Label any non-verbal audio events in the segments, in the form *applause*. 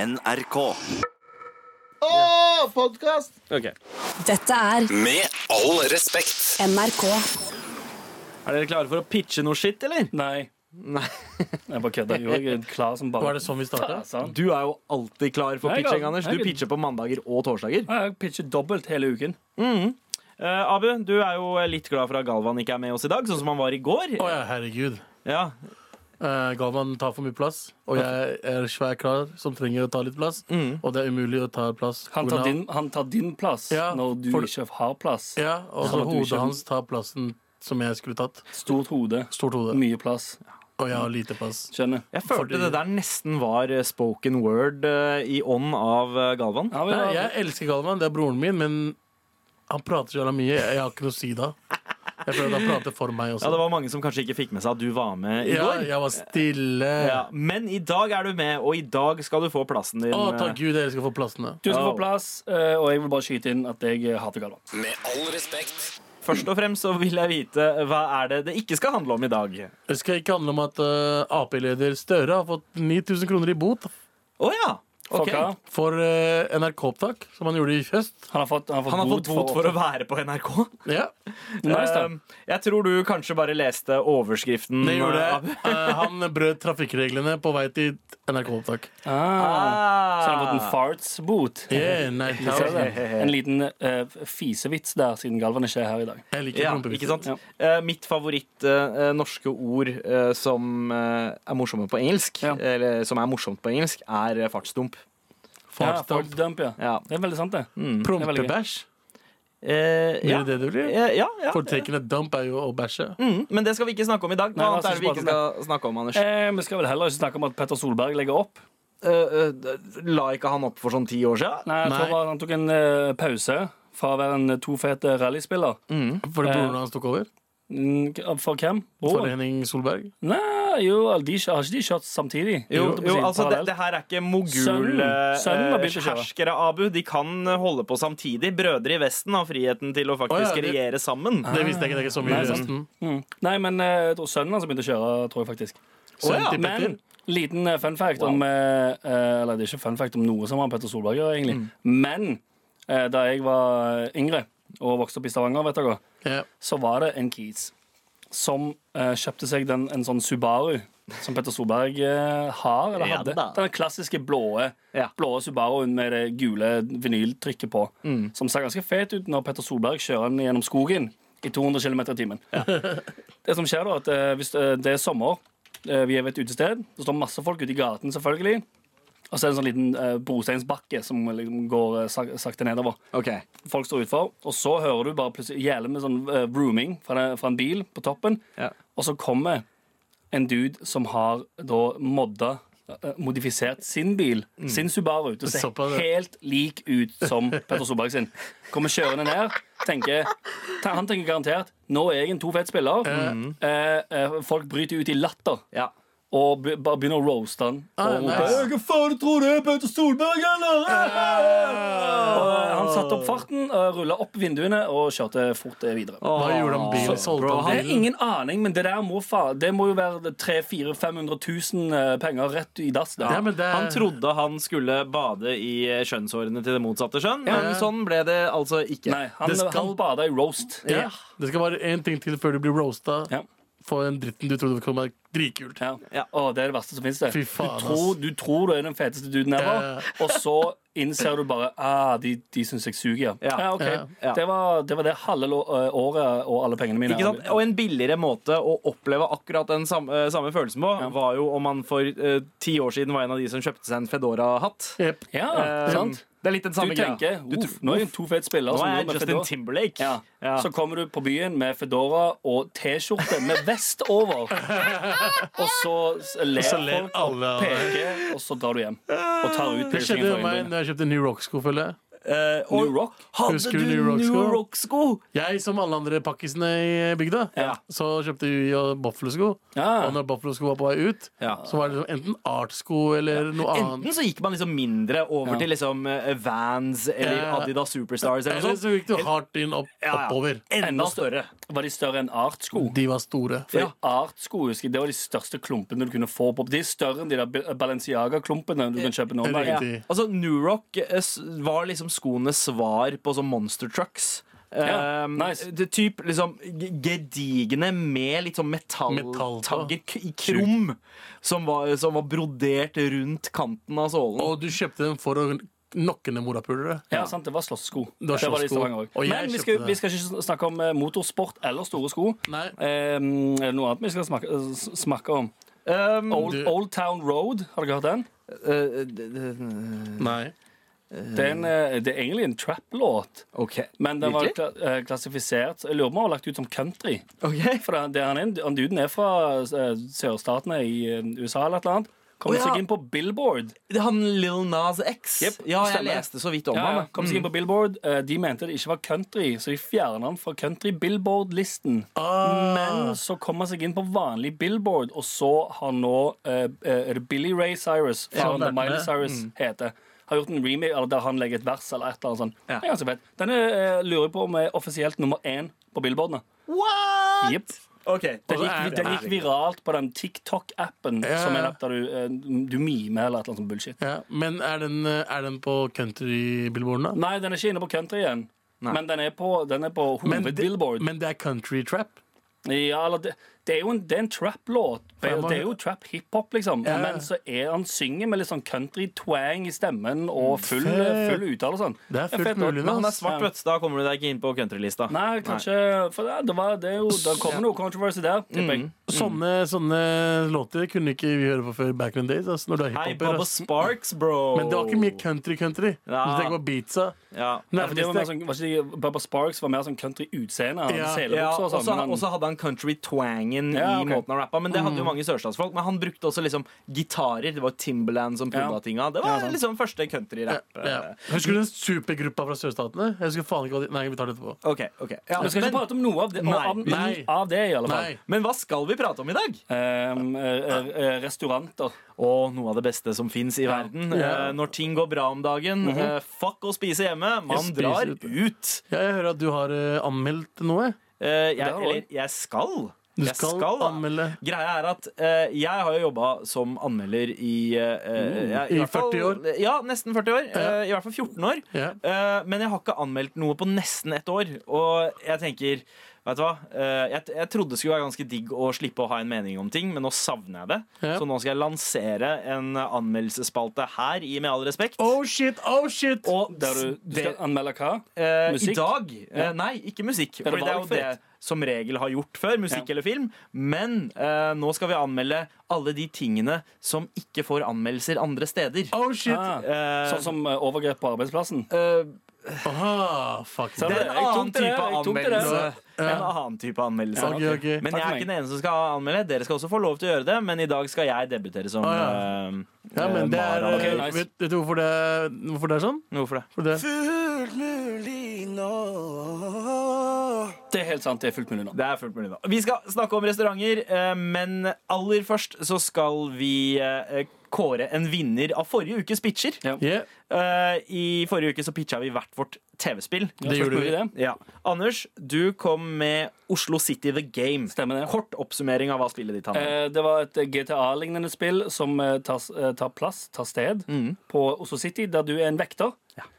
NRK. Å, podkast! Ok. Dette er Med all respekt. NRK. Er dere klare for å pitche noe shit, eller? Nei, Nei. *laughs* jeg bare kødda. *laughs* Jo, jeg er klar som Var bare det sånn vi starta? faen. Du er jo alltid klar for Nei, pitching, jeg- Anders. Du jeg- pitcher på mandager og torsdager. Ja, Jeg pitcher dobbelt hele uken. Eh, Abu, du er jo litt glad for at Galvan ikke er med oss i dag, sånn som han var i går. Å ja, herregud. Ja, Eh, Galvan tar for mye plass, og jeg er svær kar som trenger å ta litt plass. Og det er umulig å ta plass. Han på grunn tar av- din, han tar din plass Ja, når du for- ikke har plass. Ja, og så Ja, men du hodet skjønner. hans tar plassen som jeg skulle tatt. Stort hode, Stort hode. mye plass. Og jeg har lite plass. Skjønner. jeg følte Fordi- det der nesten var eh, spoken word eh, i ånd av eh, Galvan. Ja, Nei, men, jeg elsker Galvan, det er broren min, men han prater så jævla mye. Jeg har ikke noe å si da. Jeg føler at han prater for meg Ja, også. det var mange som kanskje ikke fikk med seg at du var med i Ja, går. jeg var stille. Ja, men i dag er du med, og i dag skal du få plassen din. Å, eh, takk Gud, jeg elsker å få plassene. Du skal Au. få plass, eh, og jeg vil bare skyte inn at jeg eh, hater Galvan. Med all respekt. Først og fremst så vil jeg vite hva er det det ikke skal handle om i dag. Det skal ikke handle om at eh, Ap-leder Støre har fått 9000 kroner i bot Å ja! ok. Fucka. for eh, NRK-opptak, som han gjorde i høst. Han har fått, han har fått, Han har fått bot for å være på NRK. Ja, Nice, da. Um, Jeg tror du kanskje bare leste overskriften. det gjorde jeg. Abu. Mm. *laughs* Eh, han brøt trafikkreglene på vei til NRK-opptak. Ah. Så han har fått en farts-bot. Yeah, nei, Ser du jeg det? En liten eh, fisevits der, siden Galvan ikke er her i dag. liker Ja, prompevitser. ikke sant? Ja. Eh, mitt favoritt eh, eh, norske ord eh, som eh, er morsomme på engelsk, Ja. eller som er morsomt på engelsk, er eh, fartsdump. Ja, Fartsdump. fartsdump, ja. Ja. Det er veldig sant, det. Prompebæsj. Eh, Blir ja. det det det blir? Eh, ja, ja. Fortrekkende dump er jo å bæsje. Mm, men det skal vi ikke snakke om i dag. Hva Nei, annet la er oss det vi ikke ikke skal snakke om, Anders? Eh, vi skal vel heller ikke snakke om at Petter Solberg legger opp. Eh, eh, d- la ikke han opp for sånn ti år siden? Nei, jeg Nei. tror bare han tok en eh, pause fra å være en tofete rallyspiller. Fordi broren hans tok over. Mm, k- For hvem? For Broren? Henning Solberg. Nei, jo, de, kjø- har ikke de kjørt samtidig? Jo, Holdt jeg på å jo, si, altså det, parallelt. det her er ikke Sønnen- sønnen har begynt å kjøre. mogul-herskere, Abu. De kan eh, holde på samtidig. Brødre i Vesten har friheten til å faktisk Å, ja, det- regjere sammen. Det visste jeg ikke. Det er ikke så mye i resten. mm. Nei, men eh, jeg tror sønnen hans begynte å kjøre, tror jeg faktisk. Sønnen til Petter. Men liten eh, fun fact om eh, eh, Eller det er ikke fun fact om noe som har Petter Solberg gjør, egentlig. Mm. Men eh, da jeg var yngre og vokste opp i Stavanger, vet dere, Ja. så var det en kis som eh, kjøpte seg den, en sånn Subaru som Petter Solberg eh, har, eller Ja hadde. da. den klassiske blåe, Ja. blåe Subaruen med det gule vinyltrykket på. Mm. Som ser ganske fet ut når Petter Solberg kjører den gjennom skogen i 200 km i timen. *laughs* Det som skjer da, at eh, hvis eh, det er sommer, eh, vi er ved et utested, det står masse folk ute i gaten selvfølgelig, og så er det en sånn liten eh, brosteinsbakke som liksom går eh, sak- sakte nedover Ok. folk står utfor, og så hører du bare plutselig jævlig med sånn eh, rooming fra, den- fra en bil på toppen, Ja. og så kommer en dude som har da modda eh, modifisert sin bil, sin Subaru, til å se Mm. Såpass, ja. helt lik ut som Petter Solberg sin. Kommer kjørende ned, tenker ta- Han tenker garantert Nå er jeg en to fet spiller. Eh, eh, folk bryter ut i latter Ja. og be, bare begynner å roaste han. Ah, og rope, nice. «Hva faen tror du er Petter Solberg, eller? Og eh, han satte opp farten, rulla opp vinduene og kjørte fort eh, videre. Hva gjorde han bilen? Solgte Jeg han har bilen? ingen aning, men det der må, fa det må jo være 300 500 000 eh, penger rett i dass. Ja, men det... Han trodde han skulle bade i eh, skjønnshårene til det motsatte skjønn, men sånn ble det altså ikke. Nei, han, Det skal- han bada i roast. ja. Det skal være én ting til før du blir roasta Ja. for den dritten du trodde kunne være dritkult. Ja. Å, det er det verste som fins. Fy faen, du, tror- ass. du tror du er den feteste duden ever, og så innser du bare ah, de, de syns jeg suger. Ja. Ja. Ja, ok. Ja. Ja. Det, var, det var det halve lo- eh, året og alle pengene mine. Ikke sant? Og en billigere måte å oppleve akkurat den samme, eh, samme følelsen på, var jo om han for eh, ti år siden var en av de som kjøpte seg en Fedora-hatt. Jep. Ja, Eh, sant? Det er litt den Du samme tenker Du oh, uff, nå er jeg en to fet spiller. Nå som er går jeg med Justin fedora. Timberlake. Ja. Ja. Så kommer du på byen med Fedora og T-skjorte med vest over. Og så s- ler, Så ler folk og alle av peker, og så drar du hjem. Og tar ut Det skjedde piercingen med fra meg øynene. når jeg kjøpte en ny rocksko, føler jeg. Eh, og New Rock? Hadde Husker du du New Rock-sko? New Rock-sko? Jeg, som alle andre pakkisene i bygda, Ja. så kjøpte vi jo Buffalo-sko. Ja. Og når Buffalo-sko var på vei ut, Ja. så var det liksom enten art-sko eller noe annet. Enten så gikk man liksom mindre over Ja. til liksom eh, Vans eller Ja. Adidas Superstars eller noe Eller sånt. så gikk du hardt inn opp, sånn. Ja, ja. oppover. Enda større. Var de større enn Art-sko? De var store. For Ja. Art-sko husker jeg, det var de største klumpene du kunne få på. De er større enn de der Ba- Balenciaga-klumpene du kan kjøpe nå. om dagen. Ja. Riktig. Altså, New Rock eh, s- var liksom skoenes svar på sånn monster trucks. Ja, Ehm, nice. det typ liksom g- gedigne med litt sånn Metall på. metalltagger k- i krom som var, som var brodert rundt kanten av sålen. Og du kjøpte dem for å knokke ned morapulere. Ja, sant, Det var slåsssko. Det var de i slåsssko. Stavanger også. Og jeg Men vi kjøpte skal, det. vi skal ikke snakke om eh, motorsport eller store sko. Nei. Eh, er det noe annet vi skal snakke, eh, s- snakke om? Ehm, Old, Du- Old Town Road, har dere hørt den? eh, d- d- Nei. Det er, en, eh, det er egentlig en trap-låt, OK. men den var Virkelig? kla eh, klassifisert Jeg lurer på om den var lagt ut som country. Ok. For det, det, han, er, han duden er fra eh, sørstatene i eh, USA eller et eller annet. Kommer Å, ja. seg inn på Billboard. Det er Han Lil Nas X. Jepp, ja, jeg stemmer. leste så vidt om Ja, han. ja. da. Kom seg inn på Billboard. Eh, De mente det ikke var country, så de fjerna den fra country-billboard-listen. Men så kom han seg inn på vanlig Billboard, og så har nå eh, eh, er det Billy Ray Cyrus, faren vært til Miley med. Cyrus, heter. Har gjort en remake eller der han legger et vers eller et eller annet sånt. Ja. Det er ganske fett. Denne eh, lurer jeg på om er offisielt nummer én på billboardene. What?! Jepp. Ok, Den gikk, den gikk viralt på den TikTok-appen Ja, som er ja. der der du, eh, du mimer eller et eller annet sånt bullshit. Ja, men er den, er den på country-billboardene? Nei, den er ikke inne på country igjen. Men den er på, den er på Men det- hovedbillboard. Men det er country trap. Ja, eller det, det er jo en, det er en trap-låt. Det er- det er jo trap hiphop, liksom. Ja. Men så er han synger med litt sånn country-twang i stemmen og full, full uttale og sånn. Det er En fullt fet mulig. låt. Men han er ass. svart, vet du. Da kommer du deg ikke inn på countrylista. Nei, kanskje For det, det, var, det er jo Det kommer noe controversy der, tipper jeg. Mm. Sånne, sånne låter kunne ikke vi høre på før back in the days. Ass, når du er Hei, hiphoper. Baba ass. Sparks, bro. Men det var ikke mye country-country. Ja. Du tenker på beatsa. Ja. Ja, for det var mer Nærmeste sånn, var ikke de, Bubba Sparks var mer sånn country-utseende. Ja. Ja. Ja, Selebukser og og sånn. så men han- og så hadde han country-twangen Ja, i ok. måten han rappa. Men det hadde jo mange sørstatsfolk. Men han brukte også liksom gitarer. Det var Timberland som pulla Ja. tinga. Det var liksom første eh, country-rapp. ja. Husker du den supergruppa fra sørstatene? Jeg husker faen ikke hva de Nei, vi tar det etterpå. Ok, ok ja, Vi skal ikke men, prate om noe av det, Nei. av, Nei. av det i alle fall. Nei. men hva skal vi prate om i dag? Ehm, eh, eh, restauranter. Og noe av det beste som fins i verden. Ja. Mhm. Eh, når ting går bra om dagen, eh, fuck å spise hjemme. Man Jeg spiser drar ute. ut. Ja, jeg hører at du har eh, anmeldt noe. Eh, jeg, Det har du. eller jeg skal. Du Jeg skal, da. anmelde. Greia er at eh, jeg har jo jobba som anmelder i eh, ja, Mm. I hvert fall- 40 år. Ja, nesten 40 år. Ja. eh, I hvert fall 14 år. Ja. Eh, men jeg har ikke anmeldt noe på nesten ett år. Og jeg tenker Vet du hva? Eh, jeg, jeg trodde det skulle være ganske digg å slippe å ha en mening om ting, men nå savner jeg det. Ja. Så nå skal jeg lansere en anmeldelsesspalte her i Med all respekt. Oh shit, oh shit! Og Der du, du skal det- anmelde hva? Eh, I Musikk? dag? eh, nei, ikke musikk. det Fordi det er jo valgfritt? det som regel har gjort før. Musikk Ja. eller film. Men eh, nå skal vi anmelde alle de tingene som ikke får anmeldelser andre steder. Oh shit! Ah, Eh, sånn som eh, overgrep på arbeidsplassen? Eh, Aha, fuck Ser det du det. er en Jeg tok annen det, type jeg tok det. anmeldelse. Ja. En annen type anmeldelse. Ok, ok. Takk Men jeg for er meg. ikke den eneste som skal anmelde. Dere skal også få lov til å gjøre det, men i dag skal jeg debutere som Ah, eh, Ja, men det er, Mara. eh, Ok, nice. vet, vet du hvorfor det, er- hvorfor det er sånn? Hvorfor det? For det. Det er helt sant. Det er fullt mulig nå. Det er fullt mulig nå. Vi skal snakke om restauranter, eh, men aller først så skal vi eh, kåre en vinner av forrige ukes pitcher. Ja. Yeah. Eh, I forrige uke så pitcha vi hvert vårt TV-spill. Ja, Det fullt gjorde mulig vi. det. Ja. Anders, du kom med Oslo City The Game. Stemmer det. Kort oppsummering av hva spillet ditt handler om. Eh, Det var et GTA-lignende spill som eh, tar, s- eh, tar plass, tar sted, Mm. på Oslo City, der du er en vekter.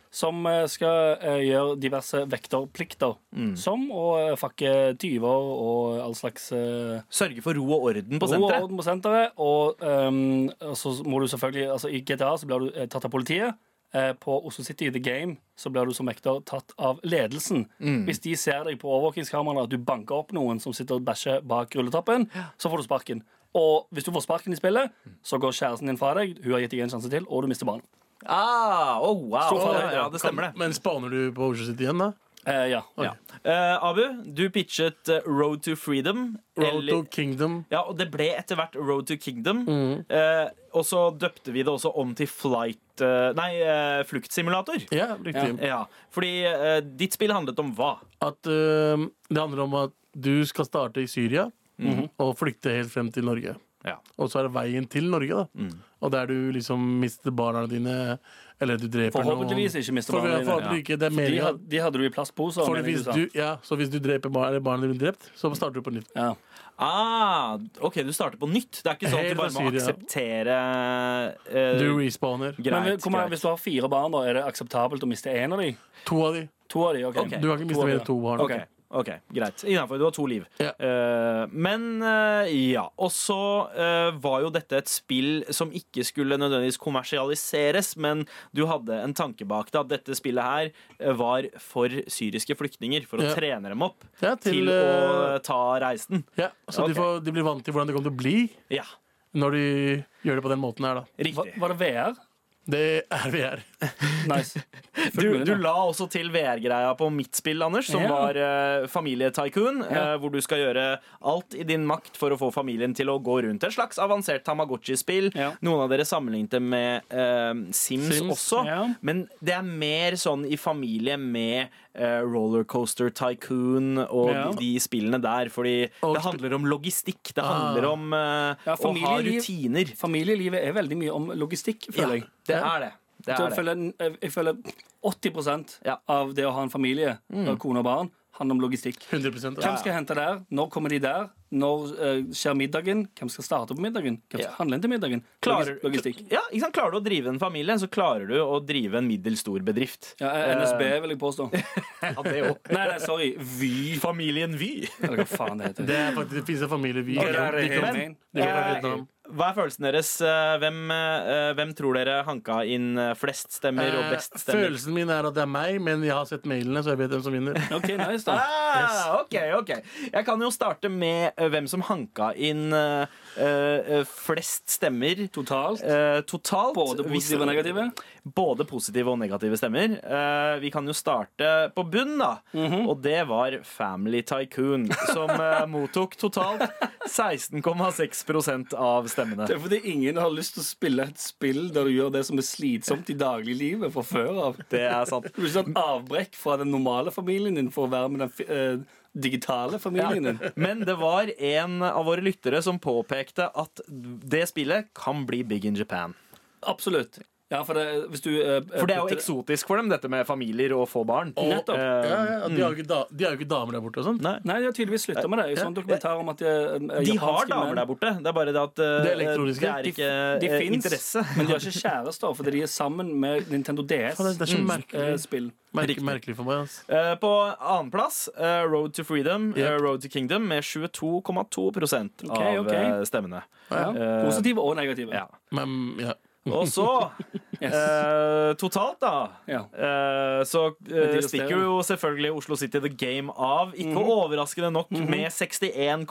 Som eh, skal eh, gjøre diverse vekterplikter. Mm. Som å eh, fakke tyver og all slags eh, Sørge for ro og orden på ro og senteret. orden på senteret. Og ehm, og så må du selvfølgelig altså I GTA så blir du eh, tatt av politiet. Eh, på Oslo City The Game så blir du som vekter tatt av ledelsen. Mm. Hvis de ser deg på overvåkingskameraene at du banker opp noen som sitter og bæsjer bak rulletappen, så får du sparken. Og hvis du får sparken i spillet, så går kjæresten din fra deg, hun har gitt deg en sjanse til, og du mister barnet. Ah, oh, wow. Stor Ja, fader. ja, det stemmer, det. Men spawner du på Oslo City igjen, da? Eh, ja. Ja. Eh, Abu, du pitchet eh, Road to Freedom. Road eller- to Mm. Kingdom. Ja, og det ble etter hvert Road to Kingdom. Eh, og så døpte vi det også om til Flight eh, Nei, eh, Fluktsimulator. Ja, riktig. Ja, fordi eh, ditt spill handlet om hva? At øhm, det handler om at du skal starte i Syria Mhm. og flykte helt frem til Norge. Ja. Og så er det veien til Norge, da. Mm. Og der du liksom mister barna dine, eller du dreper Forhåpentligvis noen. ikke mister For- barna dine. forhåpentlig ikke, det For er de, meningen. had, de hadde du i plastposer. For mener hvis sa. du, ja, så hvis du dreper barna, eller barna dine blir drept, så starter du på nytt. ja. Ah, OK, du starter på nytt. Det er ikke sånn at Helt du bare fra må Syria. akseptere eh, Du eh, respawner. Men Greit. hvor mange- greit. hvis du har fire barn, da, er det akseptabelt å miste én av dem? To av de. To av dem, ok. Ok. Du kan ikke miste mer enn to barn. Ok, ok, greit. Innenfor, du har to liv. Ja. Eh, men eh, ja. Og så eh, var jo dette et spill som ikke skulle nødvendigvis kommersialiseres, men du hadde en tanke bak det, at dette spillet her eh, var for syriske flyktninger, for å Ja. trene dem opp Ja, til, til, å eh, ta reisen. Ja, så Ok. de, får, de blir vant til hvordan det kommer til å bli Ja, når de gjør det på den måten her, da. Var, riktig. var det VR? Det er VR. Nice. Du, mulig, du da. la også til VR-greia på mitt spill, Anders, som Ja. var uh, familietycoon, eh, hvor du skal gjøre alt i din makt for å få familien til å gå rundt. Et slags avansert Tamagotchi-spill. Ja. Noen av dere sammenlignet det med eh, Sims, Sims, også, ja. men det er mer sånn i familie med eh, Rollercoaster Tycoon og Ja. de, de spillene der, fordi Og det handler om logistikk. Det handler om eh, Ah. Ja, å ha familieliv. rutiner. Familielivet er veldig mye om logistikk, føler jeg. det er det. det, Så er jeg, det. føler, eh, jeg- jeg føler 80 Ja. av det å ha en familie, og kone og barn, handler om logistikk. 100 Hvem skal jeg hente der? Når kommer de der? Når eh, skjer middagen? Hvem skal starte på middagen? Hvem skal Ja. handle inn til middagen? Klarer, Logis- Logistikk. Ja, ikke sant? klarer du å drive en familie, så klarer du å drive en middels stor bedrift. Eh, Ja, eh, NSB, vil jeg påstå. Ja, det *laughs* også. Nei, nei, sorry. Vy. Familien Vy. Eller hva faen det heter. Det er faktisk, det finnes en familie vi det er det helt Men- det er fra Vietnam. Hva er følelsen deres? Eh, Hvem, eh, hvem tror dere hanka inn eh, flest stemmer og Eh, best stemmer? Følelsen min er at det er meg, men jeg har sett mailene, så jeg vet hvem som vinner. OK, nice, da. Ah, ok, ok Jeg kan jo starte med eh, hvem som hanka inn eh, eh, flest stemmer Totalt. eh, totalt. Både Hvis- positive og negative. Både positive og negative stemmer. Eh, vi kan jo starte på bunn, da. Mhm. Og det var Family Tycoon, som *laughs* eh, mottok totalt 16,6 av stemmene. Det er fordi ingen har lyst til å spille et spill der du gjør det som er slitsomt i dagliglivet fra før av. Det er sant. Du vil ikke ha et avbrekk fra den normale familien din for å være med den fi- eh, digitale familien din. Men det var en av våre lyttere som påpekte at det spillet kan bli big in Japan. Absolutt. Ja, for det, hvis du eh, For det er jo putter- eksotisk for dem, dette med familier og få barn. Eh, Nettopp. *laughs* Ja, ja, de, har jo ikke da, de har jo ikke damer der borte og sånn. Nei. Nei, de har tydeligvis slutta med det. Jeg så en dokumentar om at de, eh, De har japanske damer menn- der borte. Det er bare det at eh, Det er elektroniske. det er ikke De eh, finnes, interesse. *laughs* men de har ikke kjærester fordi de er sammen med Nintendo eh, Faen, Det er DS-spill. så merkelig, merkelig, Riktig. merkelig for meg. ass. Eh, på annenplass uh, Road to Freedom, eh, Yep. Road to Kingdom, med 22,2 Ok, av ok. eh, stemmene. Ja. Eh, Positive og negative. Ja. Men ja. Og så, *laughs* Yes. eh, totalt, da, Ja. eh, så eh, de resterende. stikker jo selvfølgelig Oslo City The Game av. Ikke overraskende nok med 61,1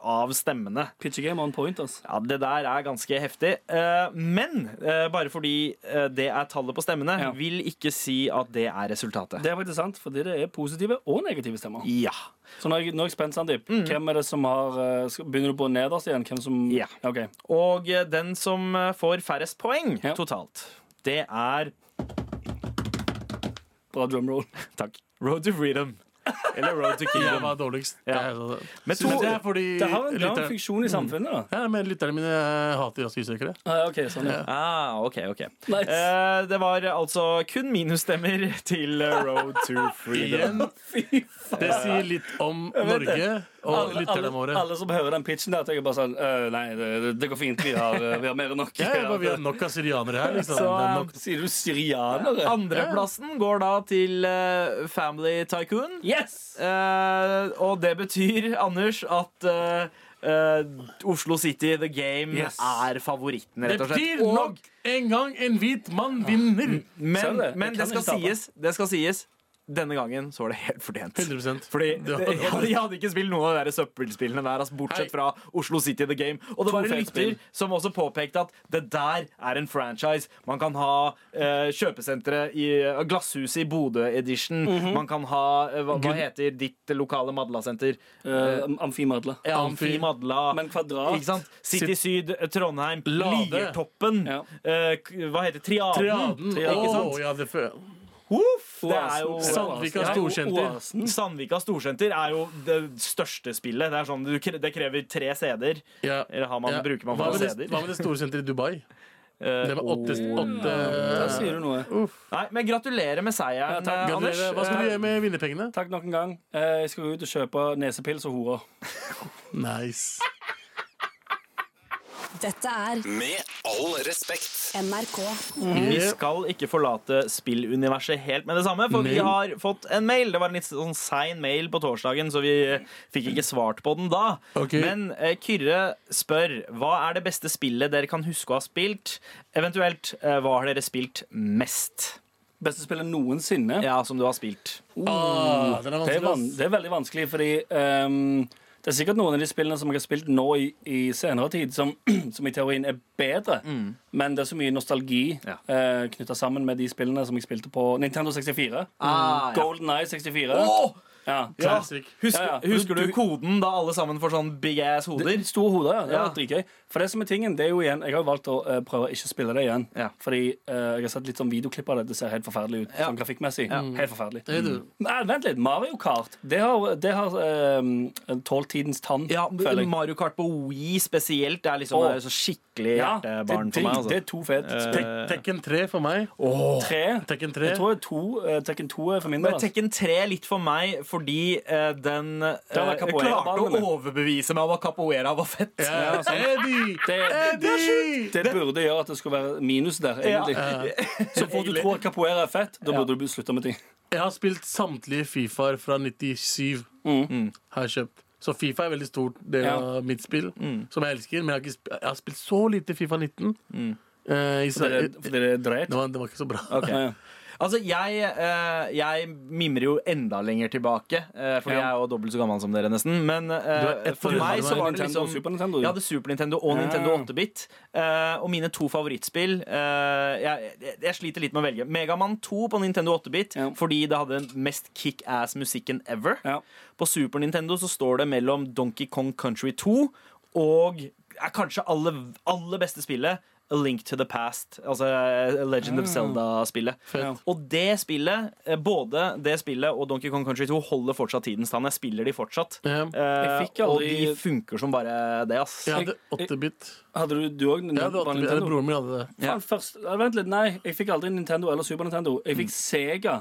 av stemmene. Pitcher game on point, altså. Ja, Det der er ganske heftig. Eh, men eh, bare fordi eh, det er tallet på stemmene, Ja. vil ikke si at det er resultatet. Det er faktisk sant, fordi det er positive og negative stemmer. Ja. Så nå er jeg, nå er jeg spent, Sandeep. Hvem er det som har eh, skal- Begynner du på nederst igjen? Hvem som Ja. Ok. Og eh, den som eh, får færrest poeng Ja. totalt, det er Bra drumroll. Takk. Road to Freedom. Eller Road to Jeg Kingdom. var dårligst. *laughs* Ja. Jeg er så- Med to- Men det er fordi *laughs* Det har en, det har en lytterne funksjon i samfunnet, da. ja, men lytterne mine hater asylsøkere. Ah, ok, sånn, ja. Ah, OK, OK. Nice. Eh, det var altså kun minusstemmer til eh, Road to Freedom. Igjen, det sier litt om Norge og Alle, lytterne alle, våre. alle som hører den pitchen der, tenker bare sånn «Øh, Nei, det, det går fint. Vi har, eh, vi har mer enn nok. Ja, jeg bare, vi har nok av syrianere her. Liksom. Det Så, er nok. *laughs* Sier du syrianere? Andreplassen går da til eh, Family Tycoon. Yes! Eh, og det betyr, Anders, at eh, eh, Oslo City The Game Yes. er favoritten, Det rett og slett. betyr Og- nok en gang en hvit mann vinner. Men, Mm, Ser du det? men Jeg det, kan skal ikke tape. sies, det skal sies denne gangen så var det helt fortjent. 100% Fordi *laughs* Det var- *laughs* jeg, hadde- jeg hadde ikke spilt noen av de der søppelspillene der, altså, Hei. bortsett fra Oslo City The Game. Og det var en fete lytter spill. som også påpekte at det der er en franchise. Man kan ha eh, kjøpesenteret i eh, Glasshuset i Bodø Edition. Mhm. Man kan ha eh, hva, hva heter ditt lokale Madla-senter? Eh, Amfimadla. Ja, Amfi. Amfi Madla. Men Kvadrat. Ikke sant? City Syd, eh, Trondheim, Lade. Liertoppen. Ja. eh, k- hva heter det? Triaden? Triaden. Ikke Åh, sant? ja, det fø- Uff, det er Oasen. jo Sandvika Ja, Storsenter. Oasen. Sandvika Storsenter er jo det største spillet. Det, er sånn, du kre- det krever tre CD-er. Ja. Eller har man, bruker man hva, flere med det, CD-er? hva med det store senteret i Dubai? *laughs* Eh, Det var åtte, åtte Der sier du noe. Nei, men gratulerer med Ja, seieren, takk. eh, Anders. Gratulerer. Hva skal du gjøre med vinnerpengene? Takk nok en gang. Eh, Jeg skal gå ut og kjøpe nesepils og horer. Nice. Dette er Med all respekt. NRK. Vi Yeah. skal ikke forlate spilluniverset helt med det samme, for vi Mail. har fått en mail. Det var en litt sånn sein mail på torsdagen, så vi eh, fikk ikke svart på den da. Ok. Men eh, Kyrre spør hva er det beste spillet dere kan huske å ha spilt? Eventuelt eh, hva har dere spilt mest? Beste spillet noensinne. Ja, som du har spilt. Ah, den er Det, er vanskelig. van ass. det er veldig vanskelig, fordi ehm, det er sikkert noen av de spillene som jeg har spilt nå i, i senere tid, som, *clears throat* som i teorien er bedre, men det er så mye nostalgi Mm. Ja. eh, knytta sammen med de spillene som jeg spilte på Nintendo 64. Ah, ja. Golden Eye 64. Ja. Ja. Classic. Husker, Ja, ja. husker du Du- koden da alle sammen får sånn big ass hoder? Det- Store hoder, ja. Det Ja. var dritgøy. For det som er tingen, det er jo igjen Jeg har jo valgt å eh, prøve å ikke spille det igjen. Ja. Fordi eh, jeg har sett litt sånn videoklipp av det. Det ser helt forferdelig ut Ja. sånn grafikkmessig. Helt forferdelig. Mm. Det er du. Nei, vent litt. Mario Kart. Det har, det har eh, tålt tidens tann, Ja, føler jeg. Mario Kart på Wii spesielt er liksom Åh. er så skikkelig Ja, hjertebarn det, for meg. det- Det Altså. er to fett. Tek, Eh, Tek- Tekken 3 for meg. tre. Tekken 3. Jeg tror det er to, eh, Tekken 2 er for min del. Men altså. Tekken 3 er litt for meg fordi eh, den eh, var capoeira-banen, klarte å det. overbevise meg om at capoeira var fett. Ja, Eddie! Det, Eddie! det burde gjøre at det skulle være minus der, egentlig. Så fort du tror at capoeira er fett, da burde du slutte med ting. Jeg har spilt samtlige Fifaer fra 97. Mm. Har jeg kjøpt. Så Fifa er veldig stor del Ja. av mitt spill, Mm. som jeg elsker. Men jeg har, ikke sp jeg har spilt så lite Fifa 19. Eh, i For det, Sverige. er- for det er dreit. det, var, det var ikke så bra. Mm. *laughs* Ok. Altså, jeg, eh, jeg mimrer jo enda lenger tilbake, eh, fordi Ja. jeg er jo dobbelt så gammel som dere, nesten. Men eh, Du er ett for år meg gammel, så var det Nintendo, liksom Super Nintendo, du. Jeg hadde Super Nintendo og Nintendo 8-bit. eh, og mine to favorittspill eh, jeg, jeg, jeg sliter litt med å velge. Megaman 2 på Nintendo 8-bit Ja. fordi det hadde den mest kickass-musikken ever. Ja. På Super Nintendo så står det mellom Donkey Kong Country 2 og er kanskje aller, aller beste spillet A Link to the Past. Altså eh, Legend of Mm. Zelda-spillet. Fett. Og det spillet, eh, både det spillet og Donkey Kong Country 2, holder fortsatt tidens tann. Jeg spiller de fortsatt. Ja. Eh, fikk aldri- Og de funker som bare det, ass. Jeg hadde 8-bit. Hadde du, du òg Jeg hadde 8-bit. Eller broren min hadde det. Ja. Faen, først, ja, vent litt, nei, jeg fikk aldri Nintendo eller Super Nintendo. Jeg fikk Sega.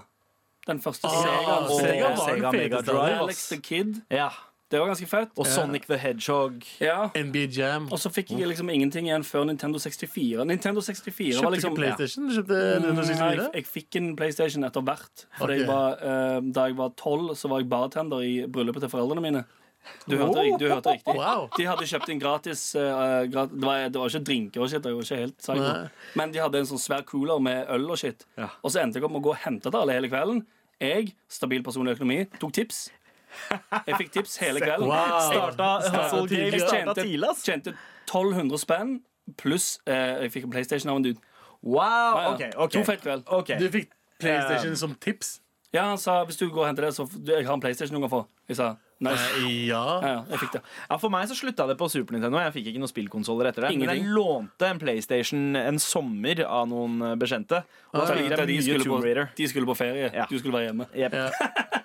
Den første Sega. Mm. altså. Ah, og Sega var Sega den Mega feteste. Drive. av Alex the Kid. Ja. Det var ganske fett. Og Sonic the Hedgehog. Ja. det. NBA Jam. Og så fikk jeg liksom ingenting igjen før Nintendo 64. Nintendo 64 Kjøpte var liksom ikke PlayStation? Kjøpte Nei, jeg, 164? jeg fikk en PlayStation etter hvert. Fordi Ok. jeg var, eh, da jeg var tolv, så var jeg bartender i bryllupet til foreldrene mine. Du hørte, rik- du hørte riktig. Wow. De hadde kjøpt inn gratis eh, grat det, var, det var ikke drinker og shit. Jeg var ikke helt psycho. Nei. Men de hadde en sånn svær cooler med øl og shit. Og så endte jeg opp med å gå og hente til alle hele kvelden. Jeg, stabil personlig økonomi, tok tips. Jeg fikk tips hele kvelden. Wow. Starta Hustle tidlig. Games. Jeg Starta tjente, tidlig, ass. tjente 1200 spenn pluss eh, Jeg fikk en PlayStation av en dude. Wow. Ja, OK. ja. ok. To fett kveld. Ok. Du fikk PlayStation som tips? Ja, han sa hvis du går og henter det, så f- du, jeg har en PlayStation du kan få. Jeg sa nice. Ja. Ja, ja, jeg fikk *laughs* det. Ja, For meg så slutta det på Super Nintendo. Jeg fikk ikke noen spillkonsoller etter det. Men jeg Ingenting. lånte en PlayStation en sommer av noen eh, bekjente. Og da Fordi fikk da jeg de, mye skulle Tomb på, Raider. de skulle på ferie. Ja. Du skulle være hjemme. Jep. Ja.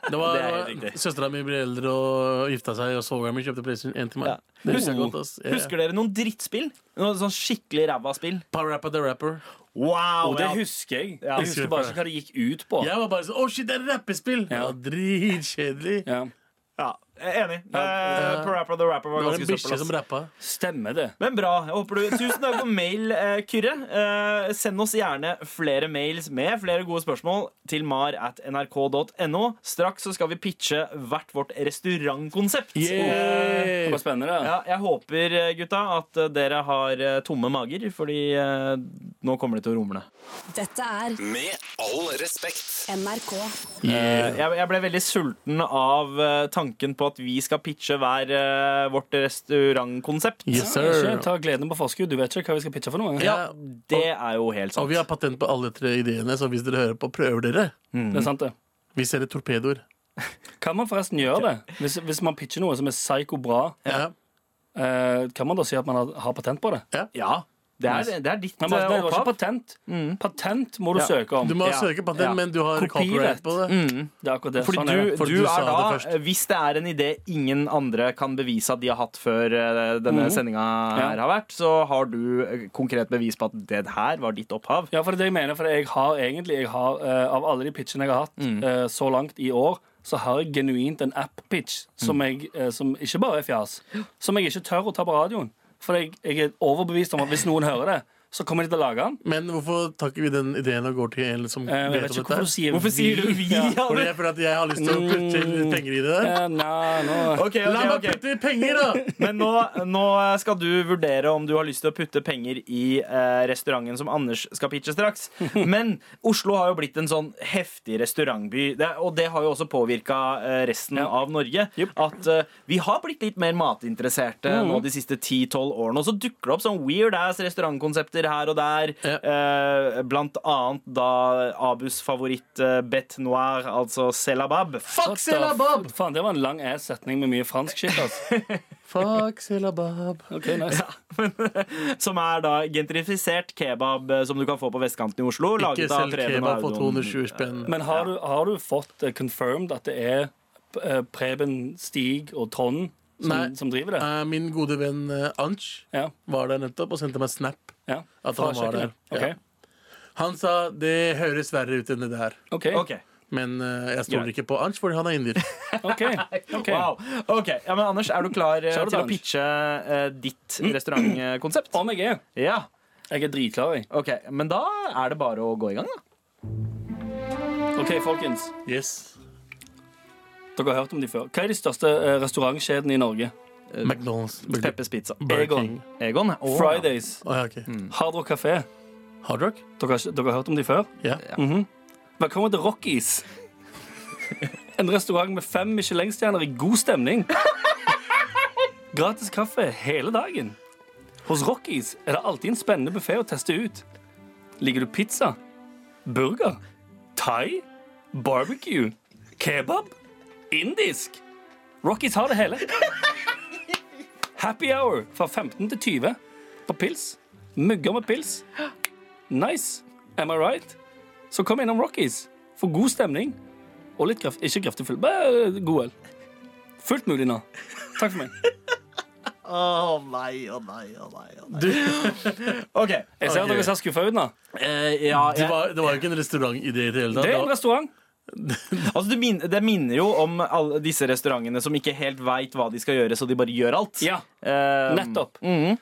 Det var, Det er helt riktig. Søstera mi ble eldre og gifta seg, og svogeren min kjøpte PlayStation 1 til meg. Ja. Det husker Husker- jeg godt, ass. Ja. Husker dere noen drittspill? Noen sånn skikkelig ræva spill? Power Rapper the Rapper. Wow! Og det husker jeg. Ja. Jeg husker bare ikke hva det gikk ut på. Jeg var bare sånn Å, shit, det er rappespill! Ja. Ja. Dritkjedelig. Ja. ja. Eh, Enig. Eh, Parappa the Rapper Det var var en ganske bikkje søppel. som ass. rappa. Stemmer det. Men bra. jeg håper du Tusen takk for mail, eh, Kyrre. Eh, send oss gjerne flere mails med flere gode spørsmål til mar at nrk.no. Straks så skal vi pitche hvert vårt restaurantkonsept. Eh, Det var spennende. Det. Ja, jeg håper, eh, gutta, at eh, dere har eh, tomme mager, fordi eh, nå kommer det til å rumle. Dette er Med all respekt. NRK. Eh, Jeg, jeg ble veldig sulten av eh, tanken på at vi skal pitche hver eh, vårt restaurantkonsept. Yes, Ikke sir. ta gleden på forskudd. Du vet ikke hva vi skal pitche for noe. Ja, Det er jo helt og vi sant. har patent på alle tre ideene, så hvis dere hører på, prøver dere. Det er sant, det. Vi selger torpedoer. Kan man forresten gjøre det? Hvis, hvis man pitcher noe som er psyko bra, Ja. eh, kan man da si at man har, har patent på det? Ja, det er, det er ditt Nei, men, eh, det var ikke opphav. patent. Patent må du Ja. søke om. Mm. Du må Ja, søke patent, ja. men du har Copyrett. copyright på det. Det er akkurat det. Fordi sånn du, er det. Fordi du du er sa da, det først. eh, hvis det er en idé ingen andre kan bevise at de har hatt før eh, denne sendinga her har vært, så har du eh, konkret bevis på at det her var ditt opphav. Ja, for det er det jeg mener. For jeg har egentlig jeg har, eh, Av alle de pitchene jeg har hatt eh, så langt i år, så har jeg genuint en app-pitch som, jeg, eh, som ikke bare er fjas. Som jeg ikke tør å ta på radioen. For jeg, jeg er overbevist om at hvis noen hører det, så kommer de til å lage den. Men hvorfor tar ikke vi den ideen og går til en som Eh, jeg vet vet ikke om dette? hvorfor du her? sier Hvorfor sier du vi? Ja. Fordi Anne? jeg føler at jeg har lyst til å putte litt penger i det der. Eh, nei, nå- Ok, ok, La meg ok. putte i *laughs* penger, da! Men nå, nå skal du vurdere om du har lyst til å putte penger i eh, restauranten som Anders skal pitche straks. Men Oslo har jo blitt en sånn heftig restaurantby, det, og det har jo også påvirka eh, resten av Norge. At eh, vi har blitt litt mer matinteresserte nå de siste 10-12 årene. Og så dukker det opp sånn weird ass restaurantkonsepter her og der. Ja. Eh, blant annet da Abus favoritt eh, bête noir, altså selabab. Fuck Selabab! Faen, det var en lang ass setning med mye fransk shit. Altså. Fuck Selabab. Ok, nice. Som er da gentrifisert kebab eh, som du kan få på vestkanten i Oslo. Ikke laget av selg Preben kebab og for Audun. 220 spenn. Men har, du, har du fått eh, confirmed at det er eh, Preben, Stig og Trond Nei. som, som driver det? Eh, Min gode venn eh, Anch Ja, var der nettopp og sendte meg snap. ja. At Fra han var der. kjøkkenet. Ok. Han sa det høres verre ut enn det der. Ok, Ok, Men eh, jeg stoler Greit. ikke på Anch, fordi han er *laughs* indier. *laughs* ok, ok. Wow. ok, ja, men Anders, er du klar eh, Så er det til Anders. å Mm. pitche eh, ditt *clears throat* restaurantkonsept? Om jeg er Ja, Jeg er dritklar jeg. ok, Men da er det bare å gå i gang, da. Ok, folkens, Yes. dere har hørt om de før Hva er de største eh, restaurantkjedene i Norge? McDonald's. Burger Peppers Pizza. Burger Egon. King. Egon? Å, Fridays, Å, ja, ok. Hard Rock Café Hard Rock? dere, har ikke- dere har hørt om de før? Ja. Velkommen til Rockies En restaurant med fem Michelin-stjerner i god stemning Gratis kaffe hele dagen Hos Rockies er det alltid en spennende buffet å teste ut Liker du pizza, burger, thai, barbecue, kebab, indisk Rockies har det hele Happy hour fra 15 til 20 På pils, mugger med pils Nice, am I right? Så kom innom Rockies. For god stemning. Og litt kraft, ikke kraftig full, bare eh, god øl. Fullt mulig nå. Takk for meg. Ok. Eh, Jeg ser at dere ser skuffa ut nå. ja, Det var, det var jo ikke en restaurantidé i det hele tatt. Det er Det en var- restaurant. altså, det, minner, det minner jo om alle disse restaurantene som ikke helt veit hva de skal gjøre, så de bare gjør alt. Ja, Eh, nettopp.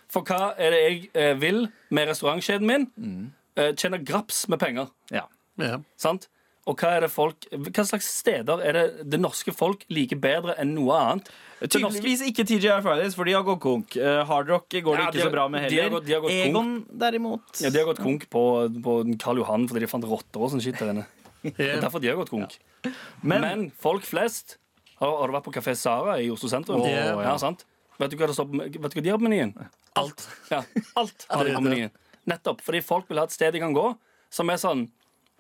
For hva er det jeg eh, vil med restaurantkjeden min? Mhm. Eh, tjene graps med penger. ja. Ja. Sant? Og hva, er det folk, hva slags steder er det det norske folk liker bedre enn noe annet? Det norske- Tydeligvis ikke TGI Fridays, for de har gått konk. Eh, Hard Rock går det Ja, ikke de har- så bra med de har heller. gått- de har gått konk. Egon, derimot Ja, De har gått konk på, på Karl Johan fordi de fant rotter og sånn shit der inne. Det er Ja. derfor de har gått konk. Men, Men folk flest har, har du vært på Café Sara i Oslo sentrum? Åh, ja. ja. sant? Vet du hva det står på, vet du hva de har på menyen? Eh, Alt. Ja, alt Ja, har det de er på menyen. det. Nettopp, fordi folk vil ha et sted de kan gå som er sånn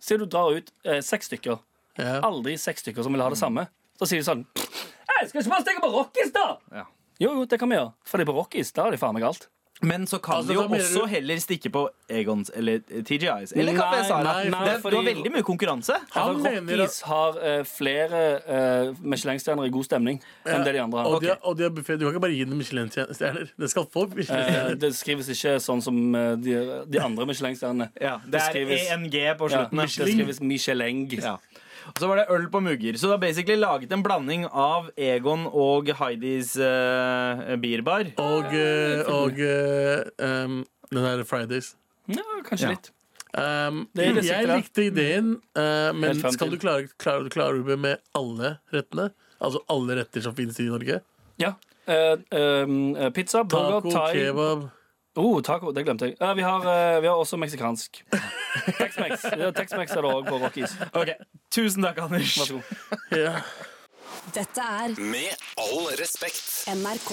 Si du drar ut eh, seks stykker. Ja. Aldri seks stykker som vil ha det samme. Så sier de sånn «Ei, Skal ikke bare stikke på Rockies, da? Ja. Jo, jo, det kan vi gjøre. Fordi på Rockies da har de faen meg alt. men så kan Altså, de jo da mener også du- heller stikke på Egons eller eh, TGIs. Eller Nei, Café Sara. nei, Det er- nei, Du fordi- har veldig mye konkurranse. Han Altså, mener Rockies har eh, flere eh, Michelin-stjerner i god stemning enn det de andre har. Og de har, og de har buffé. Du kan ikke bare gi den Michelin-stjerner. Den skal få Eh, Michelin-stjerner. det skrives ikke sånn som eh, de, de andre Michelin-stjernene. Ja, det er skrives- ENG på Ja, slutten. Det skrives Michelin. Ja. Og så var det øl på mugger. Så det er basically laget en blanding av Egon og Heidis eh, bierbar. Og, eh, og eh, um, den der Fridays. Ja, kanskje Ja. litt. Um, Det er det jeg sikre. likte ideen, eh, men Helt frem skal til. du klare, klare, klare det med alle rettene? Altså alle retter som finnes i Norge? Ja. Eh, eh, pizza, burger, Taco, thai kebab Oh, taco, det glemte jeg. Eh, vi, har, eh, vi har også *laughs* meksikansk. Tex-Mex Ja, Tex-Mex er det òg på Rockies. Ok, Tusen takk, Anders. Vær så god. ja. Dette er Med all respekt. NRK.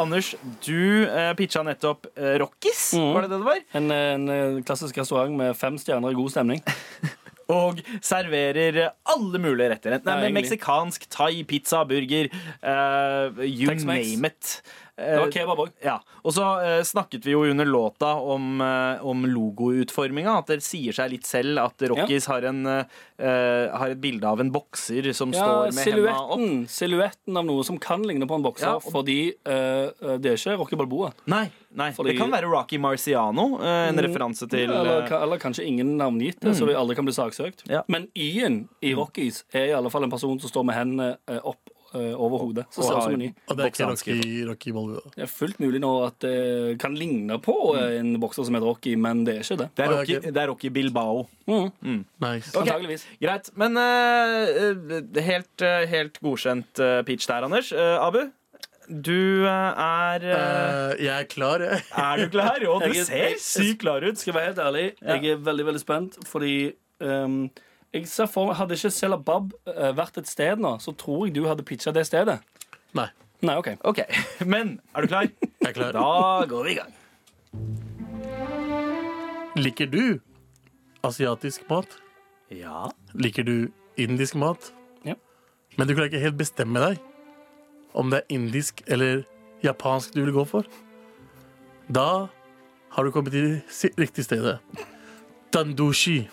Anders, du eh, pitcha nettopp eh, Rockies, Mhm. var det det det var? En, en eh, klassisk restaurant med fem stjerner i god stemning. Og serverer eh, alle mulige retter. Enten det Ja, er med egentlig. meksikansk, thai, pizza, burger, eh, you Tex-Mex. name it. Det Eh, var kebab òg. Ja, Og så eh, snakket vi jo under låta om, eh, om logoutforminga. At det sier seg litt selv at Rockies har, en, eh, eh, har et bilde av en bokser som Ja, står med henda opp. silhuetten, silhuetten av noe som kan ligne på en bokser, Ja, og- fordi eh, eh, det er ikke Rocky Balboa. Nei, nei Fordi- det kan være Rocky Marciano. eh, en referanse til eller, eh, Mm. ka- eller kanskje ingen navngitte, så de aldri kan bli saksøkt. Ja. Mm. Men Y-en i Rockies er i alle fall en person som står med hendene eh, opp eh, over hodet. Så ser Og det ut har- som en Y. Og det er ikke Boksehansker. Rocky, Rocky Balboa. Det er fullt mulig nå at det kan ligne på eh, en bokser som heter Rocky, men det er ikke det. Mm. Mm. det, Mm. er Å, ja, Rocky, ok. det er Rocky Bilbao. Nice. Antageligvis. Greit. Men eh, eh, helt, eh, helt godkjent eh, pitch der, Anders. Eh, Abu, du eh, er eh, Eh, jeg er klar, jeg. *laughs* Er du klar? Og du Jeg er- ser sykt klar ut. Skal jeg være helt ærlig, jeg er veldig veldig spent, fordi ehm, jeg ser for meg, Hadde ikke Selabab eh, vært et sted nå, så tror jeg du hadde pitcha det stedet. Nei. Nei, OK. OK. *laughs* Men er du klar? Jeg er klar. Da går vi i gang. Liker du asiatisk mat? Ja. Liker du indisk mat? Ja. Men du klarer ikke helt bestemme deg om det er indisk eller japansk du vil gå for. Da har du kommet til si- riktig stedet. Tandushi.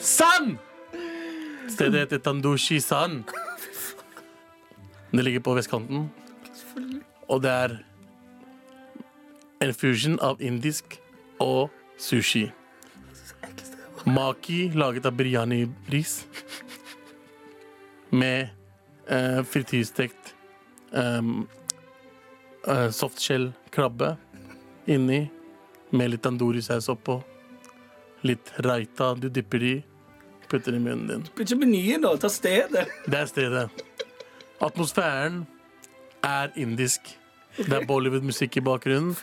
San! Stedet heter Tandushi San. Det ligger på vestkanten. Og det er en fusion av indisk og sushi. Maki laget av biryani-ris. Med eh, frityrstekt um, eh, softshell-krabbe inni. Med litt tandoori-saus oppå. Litt raita du dypper i. Putter i munnen din. Ikke menyen, da. Ta stedet. *laughs* Det er stedet. Atmosfæren er indisk. Det er Bollywood-musikk i bakgrunnen,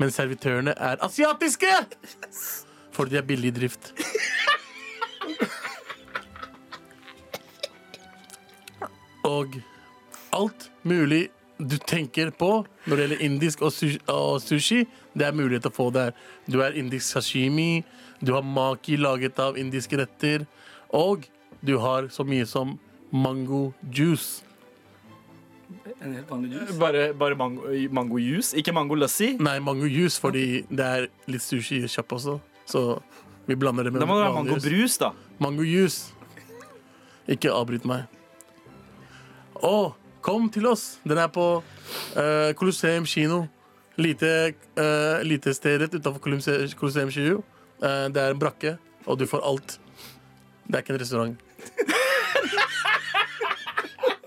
men servitørene er asiatiske! For de er billig i drift. Og alt mulig du tenker på når det gjelder indisk og sushi, og sushi det er mulighet til å få der. Du er indisk sashimi, du har maki laget av indiske retter, og du har så mye som mango juice. En helt vanlig juice. Bare, bare mango, mango juice, ikke mango lassi. Nei, mango juice, fordi det er litt sushi i kjapp også. Så vi blander det med Da må det være vanlig mango juice. brus, da. Mango juice. Ikke avbryt meg. Og kom til oss. Den er på eh, Colosseum kino. Lite, eh, lite sted rett utenfor Columse- Colosseum kino. Eh, det er en brakke, og du får alt. Det er ikke en restaurant.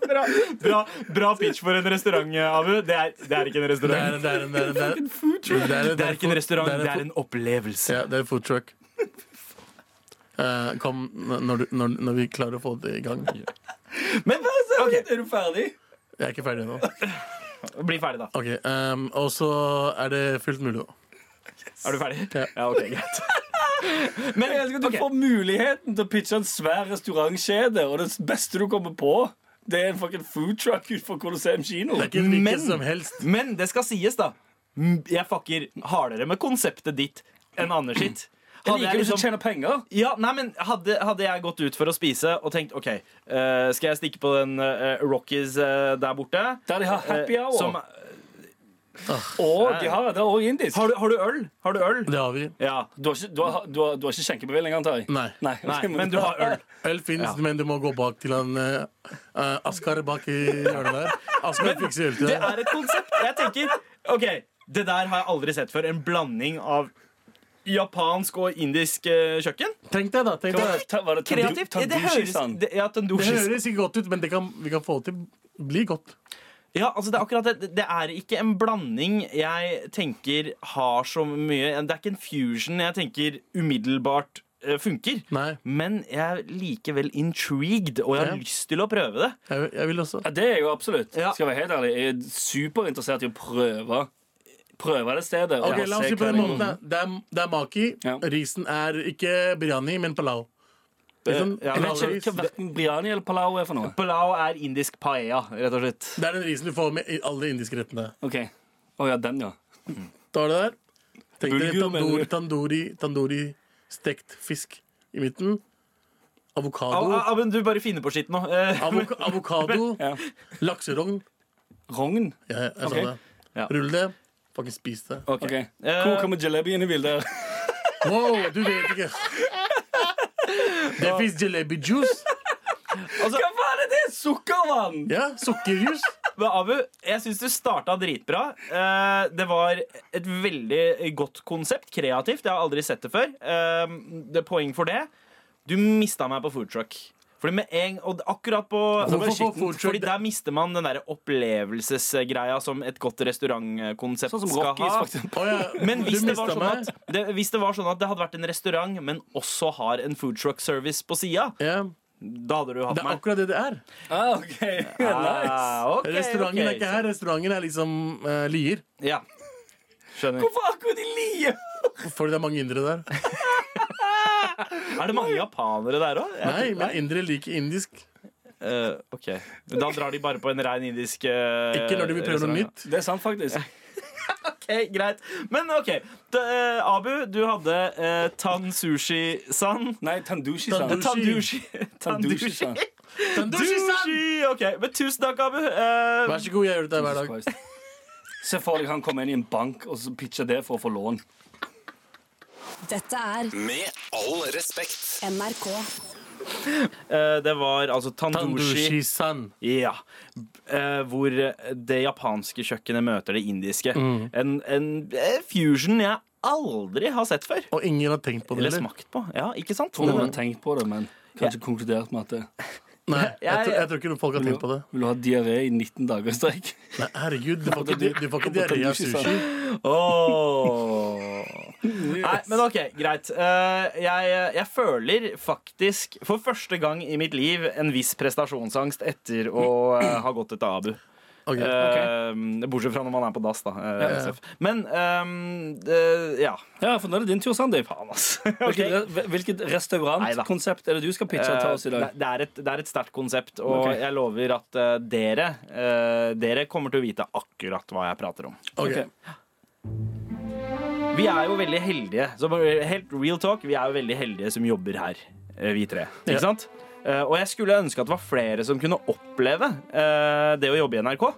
Bra, bra, bra pitch for en restaurant, Abu. Det er, det er ikke en Det er, restaurant. det er, det *laughs* er, det er, det er, Det er ikke en restaurant, det er food- en opplevelse. Ja, det er food truck. *laughs* Eh, kom n- når, du, når, når vi klarer å få det i gang. Jeg Men ok, Er du ferdig? er ikke ferdig ennå. bli ferdig, da. Ok, ehm, og så er det fullt mulig nå. Er du ferdig? Ja. Ja, ok, greit. *laughs* Men Jeg elsker at du ok. får muligheten til å pitche en svær restaurantkjede, og det beste du kommer på, det er en fucking food truck utenfor Colosseum kino. Det er ikke hvilken Men- som helst. Men det skal sies, da. Mm, Jeg fucker hardere med konseptet ditt enn Anders sitt. Jeg liker jo ikke liksom- å tjene penger. Ja, nei, men hadde, hadde jeg gått ut for å spise og tenkt OK, eh, skal jeg stikke på den eh, Rockies eh, der borte? Der de har happy Eh, hour. som- og de har, det er også indisk. har, du, har du øl? Har du øl? Det har vi. Ja. Du har ikke, du har, du har, du har ikke skjenkebevilling, antar jeg? Nei. Nei, *laughs* Nei, men du har øl. Øl fins, men du må gå bak til han eh, eh, Askar bak i hjørnet der. Askar fikser øl til Det deg. er et konsept. Jeg tenker OK, det der har jeg aldri sett før. En blanding av japansk og indisk eh, kjøkken. Tenk deg, da. Tenk Hva var deg. det? Ta- var det tandu- Kreativt. Det, det høres tandushi-san? det, ja, Det tandushi-san. høres ikke godt ut, men det kan, vi kan få det til å bli godt. Ja, altså det er akkurat det. Det er ikke en blanding jeg tenker har så mye Det er ikke en fusion jeg tenker umiddelbart eh, funker. Nei. Men jeg er likevel intrigued, og jeg har Ja. lyst til å prøve det. Jeg, jeg vil også. Ja, det er jeg jo absolutt. Ja. Skal jeg være helt ærlig, jeg er superinteressert i å prøve Prøve det stedet. og Ok, bare La oss se si på hva den det- måten. da. Det er, det er maki. Ja. Risen er ikke biryani, men palau. Liksom, ja, Jeg vet ikke palau-ris. hva hverken biryani eller palau er for noe. Palau er indisk paella, rett og slett. Det er den risen du får med i alle indiske rettene. Ok, Å ja, den, ja. Tar du det der? Tenk deg Bulgur, mener tandoori, du? tandoori, tandoori stekt fisk i midten. Al- Avokado. Al- Aben, du bare finner på skitt nå. Eh, Avoka *laughs* avokado. Lakserogn. Rogn. Ja, jeg sa Ok. det. Ja. Rull det. Fucking spis det. ok. Ok. Eh, Hvor kommer jalebi inn i bildet? Wow, du vet *laughs* ikke. Det fins jalebi juice. altså, *laughs* Hva faen er det? Sukkervann! Ja, sukkerjuice. Men Abu, jeg syns du starta dritbra. Eh, Det var et veldig godt konsept. Kreativt. Jeg har aldri sett det før. Eh, Det er poeng for det. Du mista meg på food truck. Fordi med en, og akkurat på Hvorfor på skitten, food truck? Fordi der mister man den der opplevelsesgreia som et godt restaurantkonsept Sånn som skal Rockies, ha. for eksempel. Å ja, Men hvis du det, var mistet sånn meg. at, det, hvis det var sånn at det hadde vært en restaurant, men også har en food truck service på sida, ja, da hadde du hatt Det er meg. akkurat det det er. Ah, ok, *laughs* nice. Ah, ok, Restauranten ok. er ikke her. Restauranten er liksom eh, Lier. Ja. Skjønner. Hvorfor akkurat i Lie? Fordi det er mange indere *laughs* der. Er det mange japanere der òg? Nei, men indere liker indisk. Eh, ok. Da drar de bare på en rein indisk eh, Ikke når de vil prøve noe restaurant, nytt. Det er sant, faktisk. da. Ok, Greit. Men OK. Da, eh, Abu, du hadde eh, tan sushi-san. Nei, tandushi-san. Tandushi. Tandushi. *laughs* Tandushi-san. Tandoori-san! Tandushi! OK. Men tusen takk, Abu. Eh, Vær så god, jeg gjør dette hver dag. Christ. Se for deg han kommer inn i en bank og så pitcher det for å få lån. Dette er Med all respekt. NRK. eh, det var altså tandushi. Tandoori-san. Ja. Eh, hvor det japanske kjøkkenet møter det indiske. Mm. En, en eh, fusion jeg aldri har sett før. Og ingen har tenkt på det Eller heller. smakt på. Ja, ikke sant? Tror noen har tenkt på det, men kanskje konkludert med at det *laughs* Nei, jeg, Jeg- tror, jeg tror ikke folk har tenkt på det. Vil du ha diaré i 19 dager i strekk? Nei, herregud, du får ikke, du, du får ikke På diaré av tandoori-san. sushi. Åh Nei, men ok, greit. Eh, jeg, jeg føler faktisk for første gang i mitt liv en viss prestasjonsangst etter å eh, ha gått etter Abu. Ok. Eh, bortsett fra når man er på dass, da. eh, SF. Men ehm, eh, ja. Ja, for nå er det din tur, Sandeep. Faen, ass. Hvilket, Ok. re- hvilket restaurantkonsept er det du skal pitche til oss i Eh, dag? det, er et, det er et sterkt konsept, og Ok. jeg lover at eh, dere eh, Dere kommer til å vite akkurat hva jeg prater om. Ok. Vi er jo veldig heldige. Så bare helt real talk, vi er jo veldig heldige som jobber her, eh, vi tre. Ikke Ja. sant? Eh, Og jeg skulle ønske at det var flere som kunne oppleve eh, det å jobbe i NRK.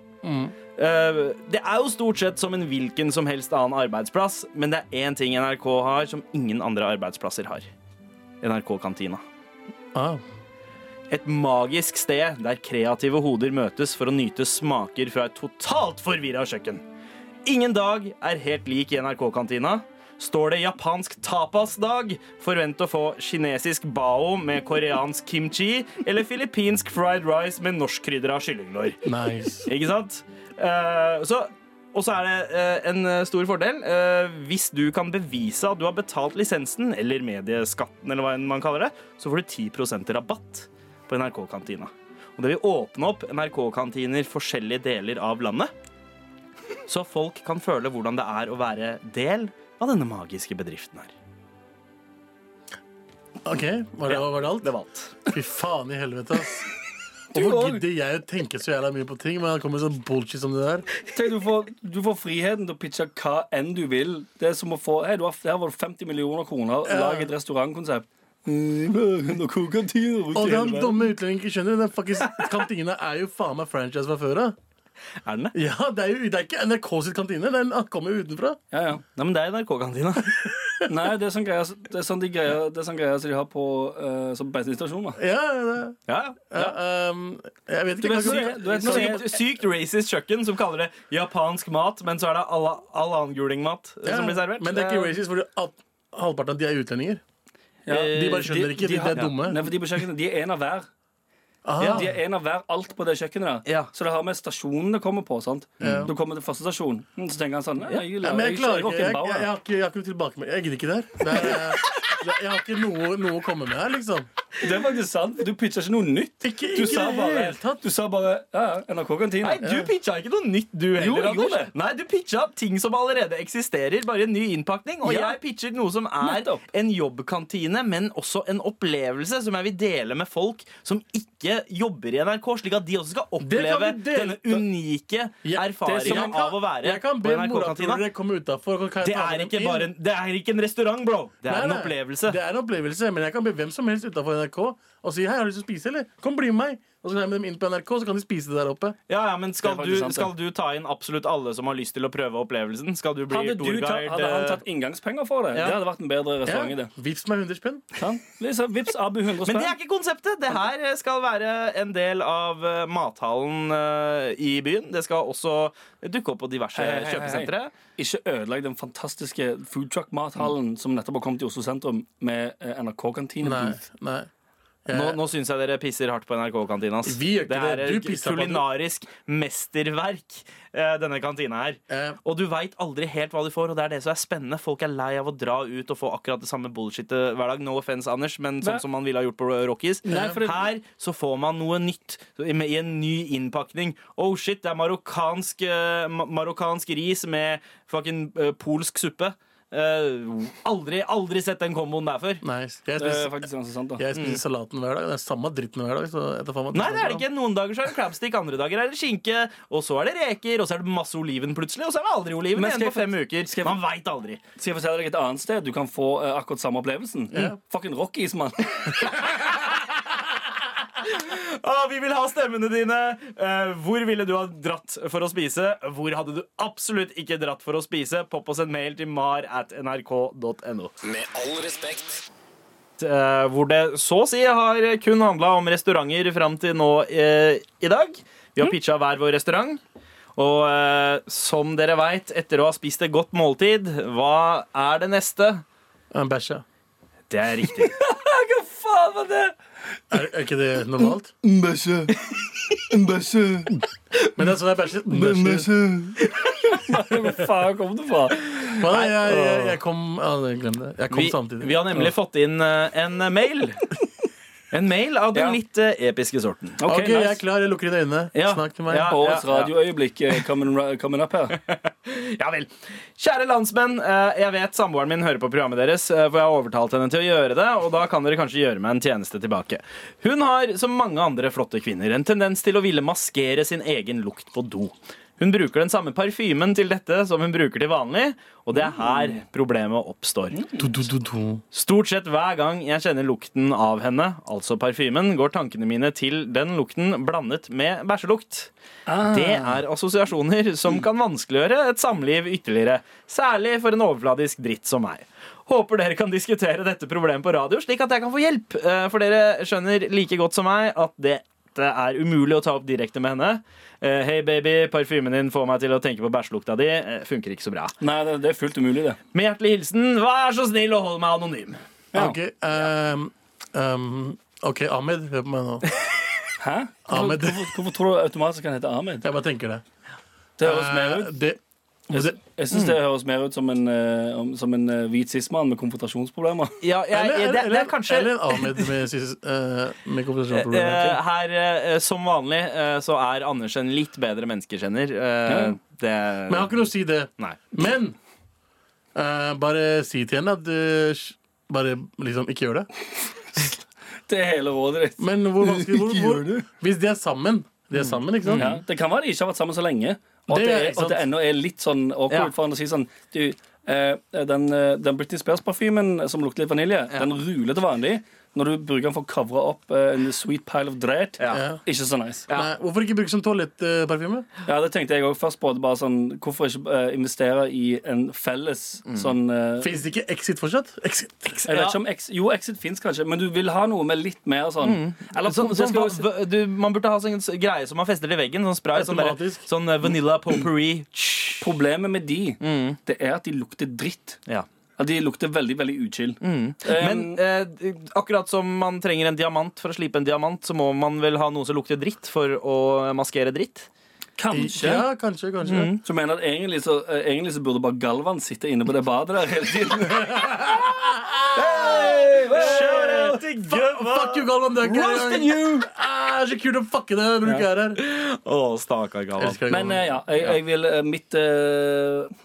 Eh, Det er jo stort sett som en hvilken som helst annen arbeidsplass, men det er én ting NRK har som ingen andre arbeidsplasser har. NRK-kantina. Ah, Et magisk sted der kreative hoder møtes for å nyte smaker fra et totalt forvirra kjøkken. Ingen dag er helt lik i NRK-kantina. Står det japansk tapasdag, forvent å få kinesisk bao med koreansk kimchi eller filippinsk fried rice med norskkrydra kyllinglår. nice. Ikke sant? Eh, så, og så er det eh, en eh, stor fordel. Eh, hvis du kan bevise at du har betalt lisensen, eller medieskatten, eller hva enn man kaller det, så får du 10 rabatt på NRK-kantina. Og det vil åpne opp NRK-kantiner forskjellige deler av landet, så folk kan føle hvordan det er å være del av denne magiske bedriften her. Ok, var det, var det alt? Det var alt. Fy faen i helvete, ass. *laughs* Hvorfor gidder jeg å tenke så jævla mye på ting? Men det kommer sånn bullshit som det der. Tenk, du, får, du får friheten til å pitche hva enn du vil. Det er som å få Hei, du har, her var det 50 millioner kroner. Lag et restaurantkonsept. Mm, Og Og den dumme utlendingen ikke skjønner, den fuckings kantina er jo faen meg franchise fra før av. Er den det? Ja, det er jo det er ikke NRK sitt kantine. Den kommer jo utenfra. Ja, ja. Nei, men det er NRK-kantina. Nei, det er sånn greier Det er sånn de greier, det er sånn greier som de har på uh, Som bensinstasjoner. Ja, det- Ja, ja. ja, um, jeg vet ikke. vet når hva- det er- du vet når det er- Sykt, sykt racist kjøkken som kaller det japansk mat, men så er det all, all annen gulingmat eh, Ja, som blir servert. Eh, Men det er ikke racist, fordi at halvparten av de er utlendinger. Ja. de bare skjønner ikke, de- de er dumme. Nei, for de på kjøkkenet, de er en av hver. Aha. De er en av hver alt på det kjøkkenet der. Ja. Så det har med stasjonen det kommer på. sant? Du kommer til første stasjon, mm, så tenker han sånn «Nei, jeg, Ja, men jeg klarer ikke. rocker Jeg, en bauer». jeg, jeg, har ikke, jeg har ikke noe tilbakemelding. Jeg gidder ikke der. Det er, det er, jeg har ikke noe, noe å komme med her, liksom. Det er faktisk sant. for Du pitcha ikke noe nytt. Ikke, Du ikke sa i det bare, hele tatt. du sa bare ja, ja, NRK-kantina. Nei, du pitcha ikke noe nytt, du heller. Jo, jeg Anders. gjorde det. Nei, Du pitcha ting som allerede eksisterer, bare en ny innpakning. Og Ja. jeg pitcher noe som er Nettopp. en jobbkantine, men også en opplevelse som jeg vil dele med folk som ikke jobber i NRK, slik at de også skal oppleve vi dele. denne unike Ja, det som erfaringen jeg kan- av å være Jeg kan på be NRK-kantina. morapulere komme utafor. Det er, ikke bare en, det er ikke en restaurant, bro! Det er Nei, en nei, opplevelse. Det er en opplevelse, Men jeg kan be hvem som helst utenfor NRK og si 'Hei, har du lyst til å spise, eller? Kom, bli med meg.' Og så kan jeg med dem inn på NRK, så kan de spise det der oppe. Ja, ja, men skal Det er du, faktisk sant, det. skal du ta inn absolutt alle som har lyst til å prøve opplevelsen? Skal du bli Hadde, du ta, tourguide? eh, hadde han tatt inngangspenger for det? Ja. Det hadde vært en bedre Ja. restaurant i det. Vips meg 100 spenn. Sant? Liksom, vips, Abu 100 Men spenn. det er ikke konseptet. Det her eh, skal være en del av eh, mathallen eh, i byen. Det skal også dukke opp på diverse Hei, hei, hei, hei. kjøpesentre. Eh, Ikke ødelegg den fantastiske foodtruck-mathallen som nettopp har kommet til Oslo sentrum med eh, NRK-kantine. Mm. Nei. nei Jeg- Nå, nå syns jeg dere pisser hardt på NRK-kantina. ass. Vi gjør ikke det. er Du et pisser på den. kulinarisk mesterverk, eh, denne kantina her. Eh. Og du veit aldri helt hva du får, og det er det som er spennende. Folk er lei av å dra ut og få akkurat det samme bullshitet hver dag. No offense, Anders, men sånn Nei. som man ville ha gjort på Rockies. Nei, for det- Her så får man noe nytt i med- i en ny innpakning. Oh shit, det er marokkansk, eh, ma- marokkansk ris med fucking eh, polsk suppe. Eh, aldri, aldri sett den komboen der før. Nei, jeg Det er spiser, faktisk ganske sant, da. jeg spiser salaten hver dag. Det er samme dritten hver dag. Så jeg tar faen meg- Nei, det er det ikke. Noen dager så er det crabstick, andre dager er det skinke, og så er det reker, og så er det masse oliven plutselig, og så er det aldri oliven Men igjen skal jeg på fem uker. skal jeg- Man veit aldri. Skal jeg fortelle deg et annet sted du kan få eh, akkurat samme opplevelsen? Fucking Rockies, mann. Å, vi vil ha stemmene dine. Eh, hvor ville du ha dratt for å spise? Hvor hadde du absolutt ikke dratt for å spise? Popp oss en mail til mar at nrk.no. Med all respekt. eh, hvor det så å si har kun handla om restauranter fram til nå eh, i dag. Vi har pitcha hver vår restaurant. Og eh, som dere veit, etter å ha spist et godt måltid, hva er det neste? Ja, Bæsja. Det er riktig. Faen, var det? Er, er ikke det normalt? Men det er sånn jeg bæsjer. Bæsjer. *laughs* Hvor faen kom du fra? Hva da? Jeg, jeg, jeg kom ja, Glem det. Jeg kom Vi, samtidig. vi har nemlig fått inn eh, en mail. En mail av den Ja. litt eh, episke sorten. Ok, OK, jeg er nice. klar. Jeg lukker inn øynene. Ja. Snakk til meg. Ja. Årets radioøyeblikk eh, coming, ra- coming up her. Ja vel. Kjære landsmenn, eh, jeg vet samboeren min hører på programmet deres, eh, for jeg har overtalt henne til å gjøre det, og da kan dere kanskje gjøre meg en tjeneste tilbake. Hun har, som mange andre flotte kvinner, en tendens til å ville maskere sin egen lukt på do. Hun bruker den samme parfymen til dette som hun bruker til vanlig, og det er her problemet oppstår. Du, du, du, du. Stort sett hver gang jeg kjenner lukten av henne, altså parfymen, går tankene mine til den lukten blandet med bæsjelukt. Det er assosiasjoner som kan vanskeliggjøre et samliv ytterligere, særlig for en overfladisk dritt som meg. Håper dere kan diskutere dette problemet på radio, slik at jeg kan få hjelp. Eh, For dere skjønner like godt som meg at dette er umulig å ta opp direkte med henne. Eh, Hei, baby, parfymen din får meg til å tenke på bæsjelukta di. Eh, Funker ikke så bra. Nei, det, det er fullt umulig, det. Med hjertelig hilsen, vær så snill å holde meg anonym. Ja. OK, ehm, ehm, OK, Ahmed, hør på meg nå. Hæ? *laughs* Hvorfor, Ahmed. hvorfor, hvorfor tror du automatisk han heter Ahmed? Jeg bare tenker det. Det høres mer ut Eh, det, det, Jeg synes det høres mer ut som en, eh, om- som en eh, hvit sismann med konfrontasjonsproblemer. Ja, jeg, eller, det, det eller, er kanskje eller en Ahmed med, sis- eh, med eh, konfrontasjonsproblemer. Her, eh, som vanlig, eh, så er Anders en litt bedre menneskekjenner. Eh, Ja. Det Men jeg har ikke noe å si det. Nei. Men eh, bare si til henne at du sj- bare liksom ikke gjør det. *laughs* Det er hele rådet ditt. Men hvor vanskelig hvor, hvor, Hvis de er sammen, de er sammen, ikke sant? Ja, det kan være de ikke har vært sammen så lenge. Og at Det det, er er, ikke og at det sant. ennå er litt sånn awkward Ja. for han å si sånn Du, eh, den, eh, den Britney Spears-parfymen som lukter litt vanilje, den ruler til vanlig. Når du bruker den for å covre opp eh, en sweet pile of dræt. Ja. Ikke så nice. Ja. Nei, hvorfor ikke bruke som toalettparfyme? Det tenkte jeg òg først på. Det bare sånn, hvorfor ikke eh, investere i en felles sånn eh, Fins det ikke Exit fortsatt? Exit, exit. jeg vet ikke om Ex Jo, Exit fins kanskje, men du vil ha noe med litt mer sånn Eller Sånn, det sånn, skal jo si- va- du, man burde ha sånn s- greie som man fester til veggen. Sånn spray. Sånn, bare, Automatisk. sånn eh, vanilla potpourri. Problemet med de, det er at de lukter dritt. Ja. Ja, de lukter veldig, veldig uchill. Men eh, akkurat som man trenger en diamant for å slipe en diamant, så må man vel ha noe som lukter dritt for å maskere dritt. Kanskje. Mm. Ja, kanskje, kanskje. Så mener jeg at egentlig så, eh, egentlig så burde bare Galvan sitte inne på det badet der hele tiden. Fuck, fuck you, Galvan. Det er ikke Roasting you! Ah, så kult å fucke det når du ikke er her. Å, stakkar Galvan. Elsker deg, Men Galvan. eh, ja, jeg, jeg vil eh, mitt eh,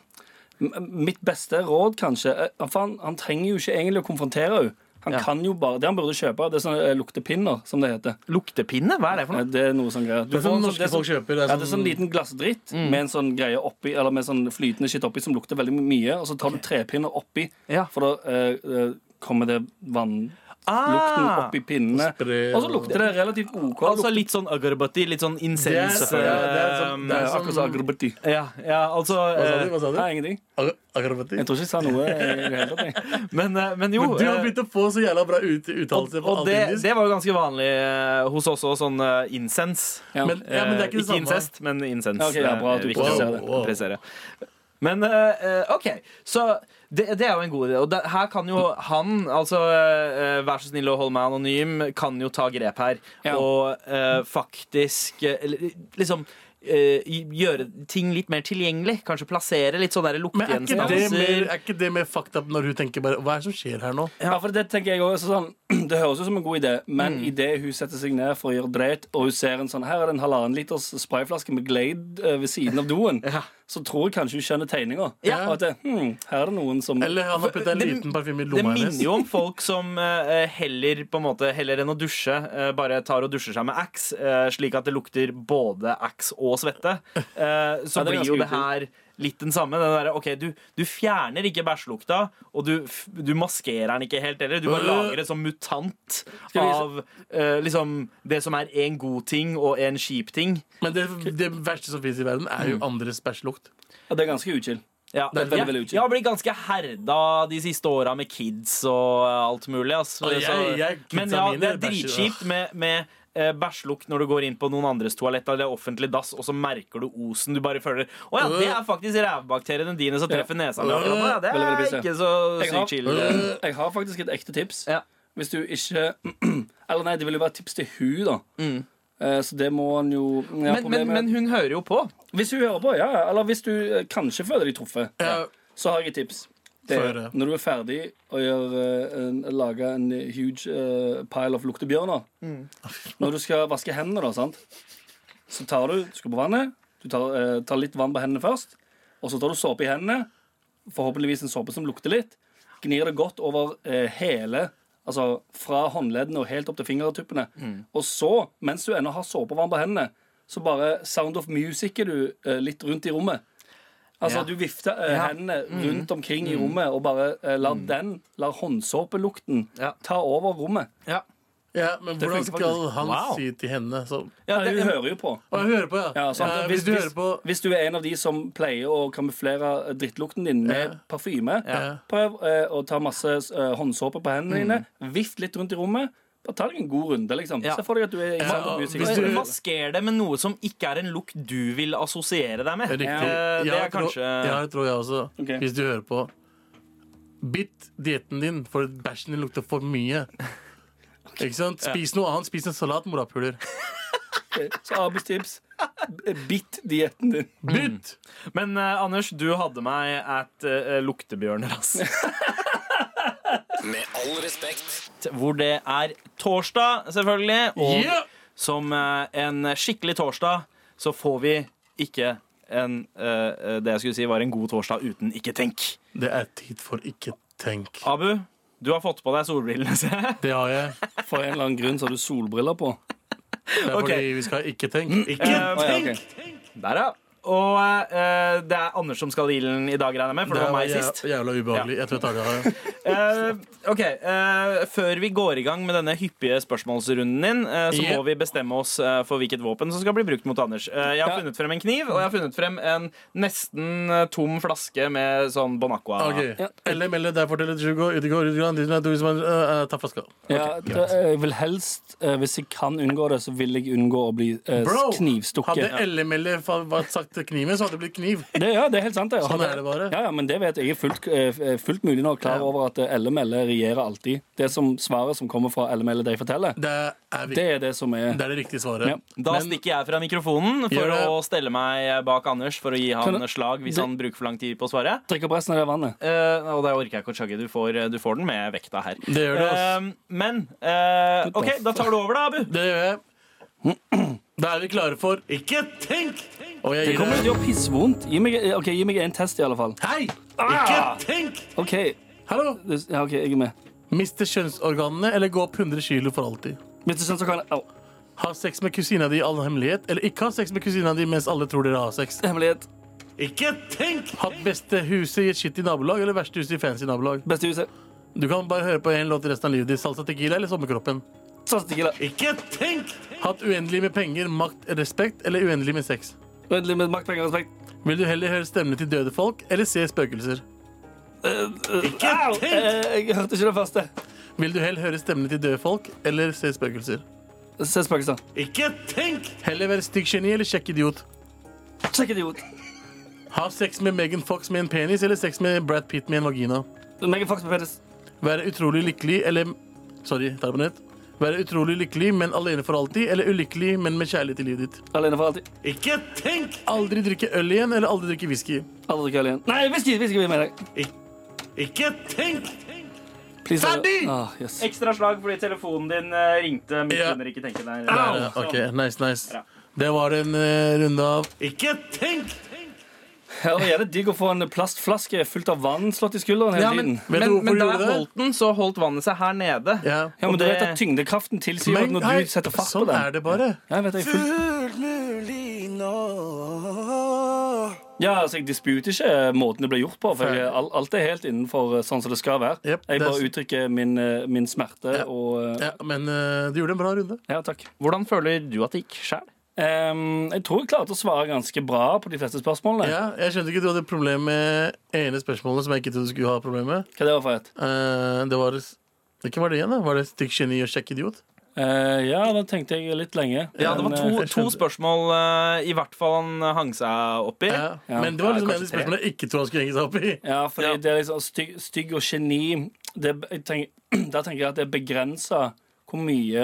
m- Mitt beste råd, kanskje eh, For han, han trenger jo ikke egentlig å konfrontere henne. Han Ja. kan jo bare, Det han burde kjøpe, det er sånne eh, luktepinner, som det heter. Luktepinne? Hva er det for Eh, noe? Det er noe sånn greier. Du Det er får sånn en sånn- norske det er sånn- folk kjøper. Det Ja, er det er sånn sånn- liten glassdritt med en sånn greie oppi, eller med sånn flytende skitt oppi som lukter veldig mye, og så tar du trepinner oppi, Ja. for da eh, eh, kommer det vannlukten Ah, oppi pinnene. sprer- Og så lukter det relativt OK. altså Lukter- litt sånn agarbati, litt sånn Det er- incens... ja, det er sånn- det det er er sånn- akkurat som agrobati. Ja, ja, altså Hva sa eh, du? Hva sa du? Nei, ingenting. Ag- Akrobati? Jeg tror ikke jeg sa noe. i det hele tatt, jeg. Men, eh, men jo Men Du har eh, begynt å få så jævla bra ut, Og, uttalelse på og alt det, indisk. det var jo ganske vanlig eh, hos oss òg, sånn eh, incens. *laughs* Ja. men, ja, men det er ikke Eh, det samme. incest, men incens. Ja, ok, ja, bra at Eh, du viktig å presiserer det. Wow, wow. presisere. Men eh, eh, OK, så det, det er jo en god idé. Og det, her kan jo han, altså eh, eh, Vær så snill å holde meg anonym, kan jo ta grep her. Ja. Og eh, faktisk eh, eller, liksom eh, gjøre ting litt mer tilgjengelig. Kanskje plassere litt sånne der Men er ikke, det mer, luktegjenstander. er ikke det mer fucked up når hun tenker bare Hva er det som skjer her nå? Ja, for Det tenker jeg også, sånn, *clears throat* det høres ut som en god idé, men i idet hun setter seg ned for å gjøre dreit, og hun ser en sånn, her er det en halvannen liters sprayflaske med Glade eh, ved siden av doen, så tror jeg kanskje hun skjønner tegninga. Ja. Og at det, hmm, her er det noen som Eller han har puttet en Det- liten parfyme i Det lomma hennes. minner jo om folk som eh, heller på en måte Heller enn å dusje, eh, bare tar og dusjer seg med ax, eh, slik at det lukter både ax og svette. Eh, så Ja, det er blir jo ganske det her litt den samme. Den derre, ok, du, du fjerner ikke bæsjelukta, og du, f- du maskerer den ikke helt heller. Du bare Øh. lager det som mutant vi- av eh, liksom det som er en god ting og en kjip ting. Men det, det verste som finnes i verden, er Mm. jo andres bæsjlukt. ja, Det er ganske uchill. Ja, Det er veldig, veldig jeg, uchill. jeg har blitt ganske herda de siste åra med kids og alt mulig. ass. Og jeg- Så- jeg- kidsa men ja, mine det er bæsjer, dritkjipt med, med eh, bæsjlukt når du går inn på noen andres toalett eller offentlig dass, og så merker du osen. Du bare føler Å ja, det er Øh. faktisk rævbakteriene dine som treffer nesa mi akkurat nå. Ja, det Veldig, veldig er pisse. ikke så Jeg har- sykt Øh. chill. Jeg har faktisk et ekte tips. Ja. Hvis du ikke *clears throat* Eller nei, det ville jo vært tips til hun da. Eh, Så det må han jo ja, Men, men, problemet- men hun hører jo på. Hvis hun hører på, ja. ja. Eller hvis du eh, kanskje føler deg truffet, Ja. så har jeg et tips. Det Få er, høre. når du er ferdig og gjør, eh, en, lager en huge eh, pile of luktebjørner Mm. *laughs* Når du skal vaske hendene, da, sant? så tar du du skal på vannet. Du tar, eh, tar litt vann på hendene først, og så tar du såpe i hendene. Forhåpentligvis en såpe som lukter litt. Gnir det godt over eh, hele Altså fra håndleddene og helt opp til fingertuppene. Mm. Og så, mens du ennå har såpevann på hendene, så bare sound of music-er du eh, litt rundt i rommet. Altså Ja. Du vifter eh, hendene rundt omkring i rommet og bare eh, lar den, lar håndsåpelukten Ja. ta over rommet. Ja, men hvordan funker skal faktisk. han Wow. si til henne så Ja, Hun hører jo på. Å, jeg hører på, ja. Ja, sant? ja hvis, hvis du hvis, hører på hvis du er en av de som pleier å kamuflere eh, drittlukten din med Ja. parfyme, Ja. prøv eh, å ta masse eh, håndsåpe på hendene dine, vift litt rundt i rommet. Bare ta deg en god runde, liksom. Ja. Se for deg at du er i Ja, Sound of og Music. hvis du- Masker det med noe som ikke er en lukt du vil assosiere deg med. Riktig. Eh, Det Jeg er tror- kanskje Ja, det tror jeg også. Ok. Hvis du hører på. Bitt dietten din, for bæsjen din lukter for mye. Ikke sant? Spis noe annet. Spis en salat, morapuler. Så Abis tips b- bitt dietten din. Bytt! Men eh, Anders, du hadde meg at eh, luktebjørner, altså. Med all respekt. hvor det er torsdag, selvfølgelig. Og Ja! som eh, en skikkelig torsdag, så får vi ikke en eh, Det jeg skulle si var en god torsdag uten ikke tenk. Det er tid for ikke tenk. Abu, du har fått på deg solbrillene, *laughs* ser jeg. Det har jeg. For en eller annen grunn så har du solbriller på. Det er Ok. fordi vi skal ikke tenke. Ikke Eh, Å, ja, ok. *laughs* Der, ja. Og eh, det er Anders som skal i ilden i dag, regner jeg med, for det var meg jæv- sist. Jævla ubehagelig. Jeg tror jeg tar det her. Eh, ok, eh, Før vi går i gang med denne hyppige spørsmålsrunden din, eh, så Yep. må vi bestemme oss eh, for hvilket våpen som skal bli brukt mot Anders. Eh, jeg har Ja. funnet frem en kniv, og jeg har funnet frem en nesten eh, tom flaske med sånn Bon Aqua. Ok. LM, eller E, der forteller Djugo, Utegård, Utegård, Utegård, du som er, eh, eh, Ta flaska. Ja, det, jeg vil helst, eh, Hvis jeg kan unngå det, så vil jeg unngå å bli eh, Bro, knivstukket. Hadde LML E fa- vært sagt tatt kniven, så hadde det blitt kniv. Det, ja, det er helt sant. Det. Sånn er det bare. Ja, ja, men det vet jeg. Jeg er fullt, eh, fullt mulig nå klar Ja. over at eh, LML regjerer alltid. Det som svaret som kommer fra LML, det jeg forteller, Det er, det viktig. er det som er Det, er det riktige svaret. Ja. Da stikker jeg fra mikrofonen for Gjør det. å stelle meg bak Anders for å gi Kan han jeg- slag hvis Det- han bruker for lang tid på å svare. Drikk opp resten av det vannet. Eh, og det orker jeg ikke å chugge. Du får, eh, du får den med vekta her. Det gjør du, ass. Eh, men eh, OK, da tar du over, da, Abu. Det gjør jeg. *clears throat* Da er vi klare for Ikke tenk! Og jeg Det gir kommer til å deg gjøre pissvondt. Gi meg, eh, ok, gi meg en test, i alle fall. Hei! Ikke tenk! OK, Hallo! det- ja, ok, jeg er med. Miste kjønnsorganene eller gå opp 100 kilo for alltid? Hvis du syns så kan jeg Au. Ha sex med kusina di i all hemmelighet, eller ikke ha sex med kusina di mens alle tror dere har sex? Hemmelighet. Ikke tenk! Hatt beste huset i et shitty nabolag eller verste huset i fancy nabolag? Beste huset. Du kan bare høre på én låt resten av livet ditt. Salsa Tequila eller Sommerkroppen? Satser tequila. Ikke tenk! Hatt uendelig med penger, makt, respekt eller uendelig med sex? Uendelig med makt, penger og respekt. Vil du heller høre stemmene til døde folk eller se spøkelser? Ikke Eh, Jeg hørte ikke det første. Vil du heller høre stemmene til døde folk eller se spøkelser? Se spøkelser. Ikke tenk! Heller være stygg geni eller kjekk idiot? Sjekk idiot. Ha sex med Megan Fox med en penis eller sex med Brad Pitt med en vagina? Megan Fox med penis. Være utrolig lykkelig eller Sorry, tar det på nytt. Være utrolig lykkelig, men alene for alltid, eller ulykkelig, men med kjærlighet i livet ditt. Alene for alltid. Ikke tenk! Aldri drikke øl igjen, eller aldri drikke whisky. Aldri drikke øl igjen. Nei, whisky! whisky vil jeg med deg. Ikke tenk! Please, Ferdig! Ah, yes. Ekstra slag fordi telefonen din eh, ringte midt Ja. under ikke tenke der. Der, sånn. ok, nice, nice. Det var en eh, runde av Ikke tenk! Her er det digg å få en plastflaske fullt av vann slått i skulderen hele Ja, men, tiden. Vet men, du hvorfor men du da gjorde jeg det? holdt den, så holdt vannet seg her nede. Ja. Ja, men og du det- vet at tyngdekraften tilsier at Men, når hei, du setter fart på sånn den er det bare. Ja, jeg vet, jeg er fullt... Ja, altså, Jeg disputer ikke måten det ble gjort på. For jeg, al- Alt er helt innenfor eh, sånn som det skal være. jeg Jep, det er bare s- uttrykker min, eh, min smerte og eh, Ja, men eh, du gjorde en bra runde. Ja, takk. Hvordan føler du at det gikk sjæl? Ehm, jeg tror jeg klarte å svare ganske bra på de fleste spørsmålene. Ja, jeg skjønte ikke du hadde problem med ene spørsmålet som jeg ikke trodde du skulle ha problem med. Hva det var for et? Eh, det var Hvem var det igjen, da? Var det stygg geni og kjekk idiot? Eh, ja, da tenkte jeg litt lenge. Ja, det var Men, to, eh, to spørsmål eh, i hvert fall han hang seg opp i. Ja. Ja. Men det var Ja, liksom en av kanskje de spørsmålene jeg ikke trodde han skulle henge seg opp i. Ja, fordi Ja. det er liksom stygg, stygg og geni det, er be- jeg tenk, *clears throat* Da tenker jeg at det er begrensa hvor mye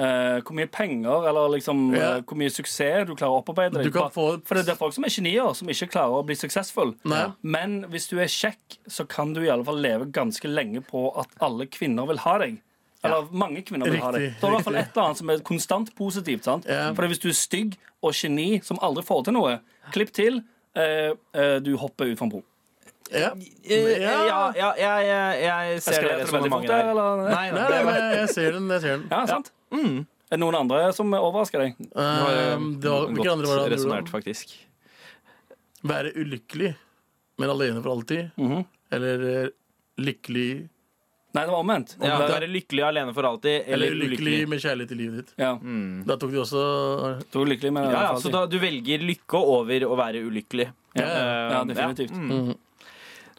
eh, hvor mye penger eller liksom Ja. eh, hvor mye suksess du klarer å opparbeide deg. Du Bare- kan få- For det er folk som er genier, som ikke klarer å bli suksessfull. Nei. Men hvis du er kjekk, så kan du i alle fall leve ganske lenge på at alle kvinner vil ha deg. Eller mange kvinner vil ha deg. Riktig, Da er det i hvert fall riktig. et eller annet som er konstant positivt. sant? Ja. For hvis du er stygg og geni som aldri får til noe, klipp til, eh, eh, du hopper ut fra en bro. Ja. Eh, ja, Ja. ja, jeg, jeg, jeg ser det Eskalerte det veldig fort resonnementet der, der. eller? Nei, nei, Nei, nei, men jeg- jeg ser den. Jeg ser den. Ja, sant? Er det noen andre som overrasker deg? Um, det var, hvilke andre var det han eh, resonert, gjorde? faktisk. Være ulykkelig, men alene for alltid. Mhm. Eller eh, lykkelig Nei, det var omvendt. Ja, Omvendt. være lykkelig alene for alltid, Eller eller ulykkelig ulykkelig. Mm. med kjærlighet i livet ditt. Ja, Da tok de også Du er lykkelig med det. i Ja, hvert ja, fall. så da, du velger lykke over å være ulykkelig. Ja, Eh, Ja, definitivt.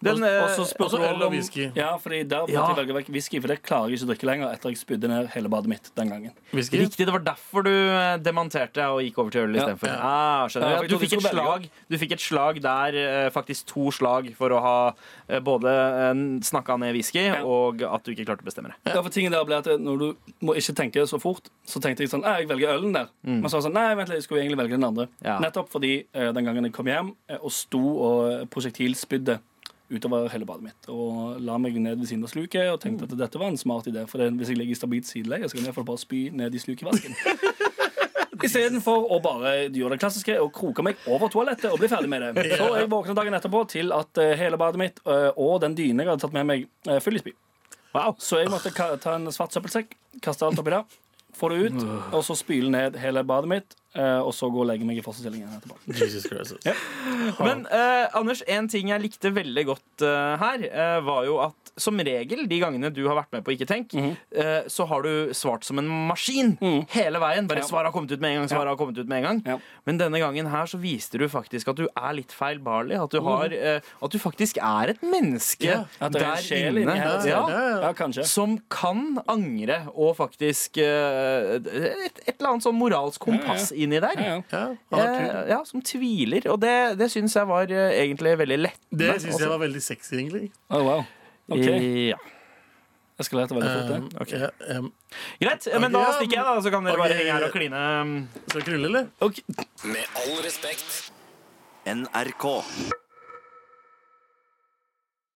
Den, eh, Og så spurte også du øl og om- whisky. Ja, fordi der måtte Ja. jeg velge vekk whisky, for det klarer jeg ikke å drikke lenger etter jeg spydde ned hele badet mitt den gangen. whisky. Riktig, det var derfor du eh, demonterte og gikk over til øl istedenfor. Ja. Ah, skjønner Ja, jeg. for du, jeg trodde fikk et du skulle slag, du fikk et slag der, eh, faktisk to slag, for å ha eh, både eh, snakka ned whisky Ja. og at du ikke klarte å bestemme det. Ja. for tingen der ble at Når du må ikke tenke så fort, så tenkte jeg sånn «Nei, Jeg velger ølen der. Men så var det sånn, nei, vent litt, jeg skulle egentlig velge den andre. Ja. Nettopp fordi eh, den gangen jeg kom hjem eh, og sto og eh, prosjektilspydde utover hele badet mitt og la meg ned ved siden av sluket og tenkte at dette var en smart idé. For det, hvis jeg ligger i stabilt sideleie, så kan jeg i hvert fall bare spy ned i slukevasken. Istedenfor å bare gjøre det klassiske og kroke meg over toalettet og bli ferdig med det. Så jeg våkna dagen etterpå til at eh, hele badet mitt eh, og den dynen jeg hadde tatt med meg, eh, full i spy. Så jeg måtte ka ta en svart søppelsekk, kaste alt oppi der, få det ut, og så spyle ned hele badet mitt, eh, og så gå og legge meg i fosterstillingen etterpå. Jesus Christ. altså. ass. Men eh, Anders, en ting jeg likte veldig godt eh, her, eh, var jo at som regel de gangene du har vært med på Ikke tenk, Mhm. eh, så har du svart som en maskin hele veien. Bare Ja. svaret har kommet ut med en gang, svaret har kommet ut med en gang. Ja. Men denne gangen her så viste du faktisk at du er litt feilbarlig. At du, har, eh, at du faktisk er et menneske Ja, Mhm. at det er en der sjel inne. inni her. altså. ja. Ja, ja. Ja, kanskje. Som kan angre og faktisk eh, et, et eller annet sånn moralsk kompass inni der. Ja, ja. Ja, han var kul. Eh, ja, som tviler. Og det, det syns jeg var eh, egentlig veldig lettende. Det syns jeg var veldig sexy, egentlig. Oh, wow. OK. Ja. Eskalerte veldig fort, Um, det. ja, um, Greit, eh, men da Ok, ja, stikker jeg, da. Så kan dere ok. bare henge her og kline. mm. Skal vi knulle, eller? Ok. Med all respekt. NRK.